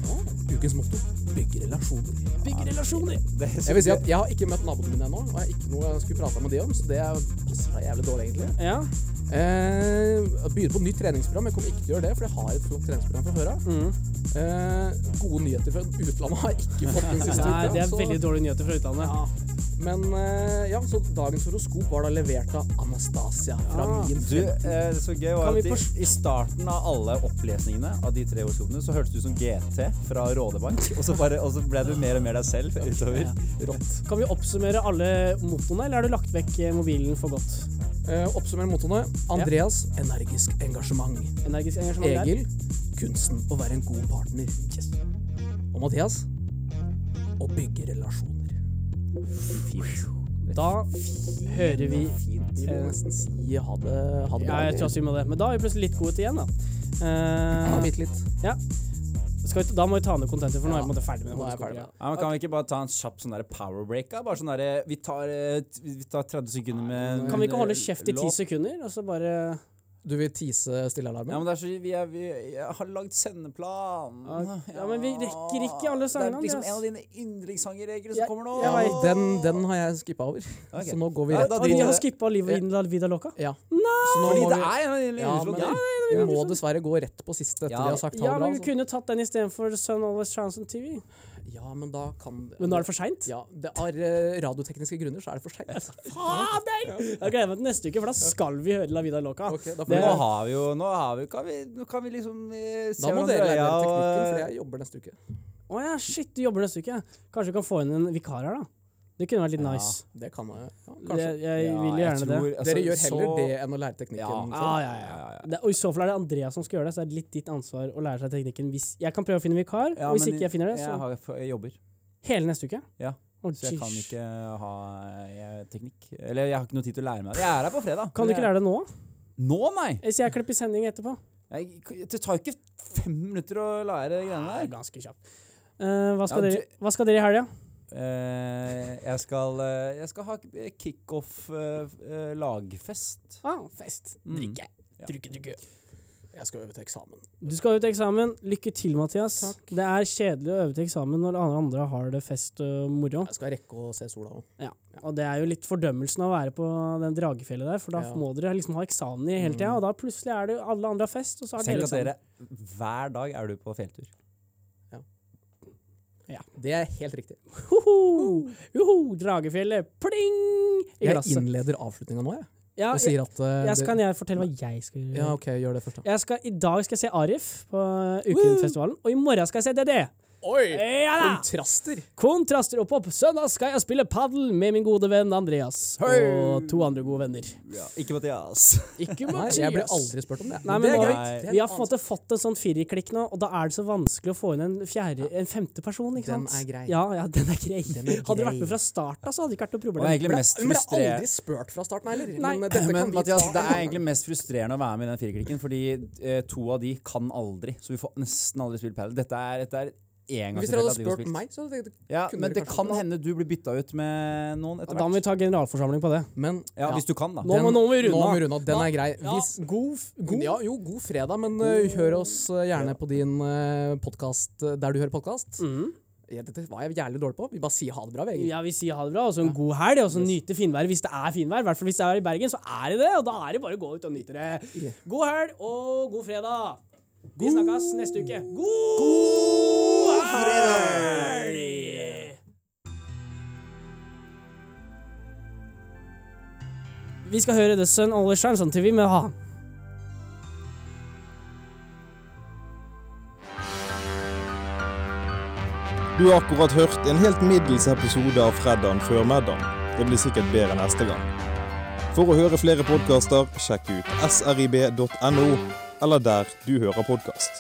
Speaker 4: Ukens motto bygge relasjoner.
Speaker 2: Bygge relasjoner.
Speaker 3: Det
Speaker 4: Jeg vil si at jeg har ikke møtt naboene mine ennå, og jeg har ikke noe jeg skulle prata med de om, så det passer seg jævlig dårlig, egentlig.
Speaker 2: Ja.
Speaker 4: Eh, jeg begynner på nytt treningsprogram. Jeg kommer ikke til å gjøre det, for jeg har et flott treningsprogram fra før av.
Speaker 2: Mm.
Speaker 4: Eh, gode nyheter fra utlandet har jeg ikke fått den siste
Speaker 2: Nei,
Speaker 4: uka.
Speaker 2: det er
Speaker 4: så-
Speaker 2: veldig dårlige nyheter fra utlandet.
Speaker 4: Men eh, ja, så dagens horoskop var da levert av Anastasia fra
Speaker 2: Ah.
Speaker 4: min
Speaker 3: Du,
Speaker 4: fremtid.
Speaker 3: eh, det så gøy var
Speaker 2: Kan
Speaker 3: at
Speaker 2: vi
Speaker 3: i, i starten av alle opplesningene av de tre ordskopene, så hørtes du ut som GT fra Rådebank, og så, bare, og så ble du mer og mer deg selv utover.
Speaker 4: Rått.
Speaker 2: Kan vi oppsummere alle mottoene, eller har du lagt vekk eh, mobilen for godt?
Speaker 4: Eh, oppsummer mottoene. Andreas energisk engasjement.
Speaker 2: Energisk engasjement der.
Speaker 4: Egil kunsten å være en god partner. Og Mathias å bygge relasjoner.
Speaker 2: Da hører vi
Speaker 4: Vi må
Speaker 2: Eh,
Speaker 4: nesten si ha det, ha det
Speaker 2: Ja, jeg tror
Speaker 4: bra.
Speaker 2: også vi må det. Men da er vi plutselig litt gode til igjen, da. Eh,
Speaker 4: Ja, bitte litt.
Speaker 2: skal vi, da må vi ta ned kontentet, for nå er vi på en måte ferdig med
Speaker 4: Nå er
Speaker 2: horoskopet,
Speaker 4: jeg ferdig med
Speaker 2: ja.
Speaker 4: det.
Speaker 3: Ja, men kan vi ikke bare ta en kjapp sånn der power break? da? Bare sånn der, vi, tar, eh, t- vi tar 30 sekunder med
Speaker 2: Kan vi ikke holde kjeft i ti
Speaker 3: låt?
Speaker 2: sekunder, og så bare
Speaker 4: Du vil tease stillealarmen?
Speaker 3: Ja, men det er så, vi, er, vi jeg har lagd sendeplan.
Speaker 4: Ah,
Speaker 2: Ja, ja, men vi rekker ikke alle sangene, altså.
Speaker 3: Det er liksom
Speaker 2: Andreas.
Speaker 3: en av dine yndlingssanger, Egil,
Speaker 2: Jeg-
Speaker 3: som kommer nå.
Speaker 2: jeg vet.
Speaker 4: Den, den har jeg skippa over.
Speaker 3: Ok.
Speaker 4: Så nå går vi
Speaker 3: Ja,
Speaker 4: rett
Speaker 3: da
Speaker 2: Å,
Speaker 4: på
Speaker 2: de
Speaker 3: driter
Speaker 2: har
Speaker 3: jeg.
Speaker 2: skippa livet i La Vida Loca?
Speaker 4: Ja. Så nå
Speaker 3: Fordi
Speaker 4: må
Speaker 3: det
Speaker 4: vi,
Speaker 3: er en av dine
Speaker 4: ja, men,
Speaker 3: yndlingslåter.
Speaker 4: vi må dessverre gå rett på siste etter
Speaker 3: Ja.
Speaker 4: vi har sagt ha
Speaker 2: Ja,
Speaker 4: det bra.
Speaker 2: men vi
Speaker 4: altså.
Speaker 2: kunne tatt den istedenfor Sun Always Shines on TV.
Speaker 4: Ja, men da kan
Speaker 2: Men nå er det for seint.
Speaker 4: ja, det Av eh, radiotekniske grunner så er det for altså. seint.
Speaker 2: Fader! Jeg gleder meg til neste uke, for da skal vi høre La Vida Loca.
Speaker 4: Ok, da får
Speaker 2: Det-
Speaker 4: vi
Speaker 3: Nå har vi jo Nå, har vi, kan, vi, nå kan vi liksom eh, se
Speaker 4: Da må
Speaker 3: hverandre
Speaker 4: dere
Speaker 3: i øya
Speaker 4: lære dere
Speaker 3: og,
Speaker 4: teknikken, for
Speaker 3: eh,
Speaker 4: jeg jobber neste uke.
Speaker 2: Å ja, shit, du jobber neste uke. Kanskje vi kan få inn en vikar her, da. Det kunne vært litt
Speaker 3: Ja,
Speaker 2: nice.
Speaker 4: Det kan jeg. Ja, kanskje.
Speaker 2: Jeg, jeg
Speaker 3: Ja,
Speaker 2: vil
Speaker 3: jeg
Speaker 2: gjerne det.
Speaker 3: tror- altså,
Speaker 4: Dere gjør heller
Speaker 3: så-
Speaker 4: det enn å lære teknikken.
Speaker 3: Ja.
Speaker 4: så.
Speaker 2: Ja, ja, ja.
Speaker 3: ja, ja.
Speaker 2: Det, og I så fall er det Andreas som skal gjøre det, så det er litt ditt ansvar å lære seg teknikken. Hvis jeg kan prøve å finne vikar,
Speaker 3: Ja,
Speaker 2: og hvis
Speaker 3: men
Speaker 2: ikke jeg finner det, så
Speaker 3: Jeg, har, jeg jobber,
Speaker 2: hele neste uke.
Speaker 3: Ja,
Speaker 2: Å,
Speaker 3: så jeg kan
Speaker 2: jeez.
Speaker 3: ikke ha eh, teknikk. Eller jeg har ikke noe tid til å lære meg det. Jeg er her på fredag.
Speaker 2: Kan du ikke lære det nå?
Speaker 3: Nå, nei!
Speaker 2: Hvis jeg klipper sending etterpå?
Speaker 3: Jeg, det tar jo ikke fem minutter å lære de greiene
Speaker 2: Det er
Speaker 3: der.
Speaker 2: ganske kjapt. Eh, hva, skal
Speaker 3: Ja,
Speaker 2: dere, hva skal dere i helga?
Speaker 3: Eh, jeg, skal, eh, jeg skal ha kickoff eh, eh, lagfest.
Speaker 2: Ah, fest.
Speaker 3: Mm.
Speaker 2: Drikke.
Speaker 3: Ja.
Speaker 2: Drikke, drikke.
Speaker 4: Jeg skal øve til eksamen.
Speaker 2: Du skal øve til eksamen. Lykke til, Mathias. Det er kjedelig å øve til eksamen når alle andre har det fest og moro.
Speaker 4: Jeg skal rekke å se sola òg.
Speaker 2: Ja. Og det er jo litt fordømmelsen av å være på den dragefjellet der, for da
Speaker 4: Ja. Mm.
Speaker 2: må dere liksom ha eksamen i hele tida, og da plutselig er det jo alle andre har fest, og så har
Speaker 3: Tenk
Speaker 2: dere liksom
Speaker 3: at
Speaker 2: eksamen.
Speaker 3: dere hver dag er du på fjelltur.
Speaker 4: Det er helt riktig.
Speaker 2: Hoho! Joho! Dragefjellet! Pling! I
Speaker 4: Jeg
Speaker 2: glasset.
Speaker 4: innleder avslutninga nå, jeg.
Speaker 2: Ja,
Speaker 4: Og
Speaker 2: jeg,
Speaker 4: sier at eh,
Speaker 2: jeg,
Speaker 4: det-
Speaker 2: kan jeg fortelle hva jeg skal gjøre?
Speaker 4: Ja, OK, gjør det først, da.
Speaker 2: Jeg skal, I dag skal jeg se Arif på Ukrenfestivalen, og i morgen skal jeg se DDE.
Speaker 4: Oi!
Speaker 2: Ja da!
Speaker 4: Kontraster.
Speaker 2: Kontraster opp opp. Søndag skal jeg spille padel med min gode venn Andreas.
Speaker 3: Hei!
Speaker 2: Og to andre gode venner.
Speaker 3: Ja. Ikke Mathias.
Speaker 2: Ikke
Speaker 4: Nei,
Speaker 2: Mathias.
Speaker 4: jeg ble aldri spurt om det.
Speaker 2: Nei, men
Speaker 4: det er
Speaker 2: nå-
Speaker 4: greit. Det er
Speaker 2: Vi har
Speaker 4: noe
Speaker 2: på en måte fått en sånn firerklikk nå, og da er det så vanskelig å få inn en, fjerde, en femte person. ikke
Speaker 4: Den
Speaker 2: sant?
Speaker 4: er grei.
Speaker 2: Ja, ja, den er grei.
Speaker 4: er
Speaker 2: Hadde du
Speaker 4: grei.
Speaker 2: vært med fra start av, så hadde det ikke vært noe
Speaker 3: Og
Speaker 2: problem.
Speaker 3: egentlig mest
Speaker 4: Hun ble aldri
Speaker 3: frustrerende
Speaker 4: spurt fra starten heller.
Speaker 2: Nei.
Speaker 4: Men, eh, dette
Speaker 3: men
Speaker 4: kan vi
Speaker 3: Mathias,
Speaker 4: ta
Speaker 3: det
Speaker 4: en
Speaker 3: er
Speaker 4: annen
Speaker 3: egentlig mest frustrerende å være med i den firklikken, fordi eh, to av de kan aldri. Så vi får nesten aldri spilt padel. Dette er, dette er
Speaker 4: gang.
Speaker 3: engangstilfelle
Speaker 4: Hvis dere hadde
Speaker 3: at de har
Speaker 4: spurt
Speaker 3: spilt.
Speaker 4: meg, så hadde jeg tenkt
Speaker 3: Ja,
Speaker 4: kunne
Speaker 3: men
Speaker 4: dere
Speaker 3: det
Speaker 4: kanskje
Speaker 3: kan
Speaker 4: fått-
Speaker 3: hende du blir bytta ut med noen etter
Speaker 2: Da må
Speaker 3: hvert.
Speaker 2: vi ta generalforsamling på det.
Speaker 4: Men
Speaker 3: Ja, hvis du kan, da.
Speaker 2: Nå må- nå må vi runde
Speaker 4: nå
Speaker 2: av.
Speaker 4: må vi runde av. Den
Speaker 2: Ja.
Speaker 4: er grei.
Speaker 2: Ja.
Speaker 4: Hvis, god, f- god, ja, jo, god fredag, men eh, hør oss eh, gjerne på din uh, podkast der du hører podkast. Ja, dette var jeg jævlig dårlig på. Vi bare sier ha det bra, VG.
Speaker 2: Ja, vi sier ha det bra, og så en god helg, og så nyte finværet hvis det er finvær. I hvert fall hvis det er i Bergen, så er det det, og da er det bare å gå ut og nyte det. God helg og god fredag. Vi snakkes neste uke. God helg! Vi skal høre The sånn Sun Always Shines on TV med ha.
Speaker 7: Du har akkurat hørt en helt middels episode av Freddagen før middagen. Det blir sikkert bedre neste gang. For å høre flere podkaster, sjekk ut srib.no, eller der du hører podkast.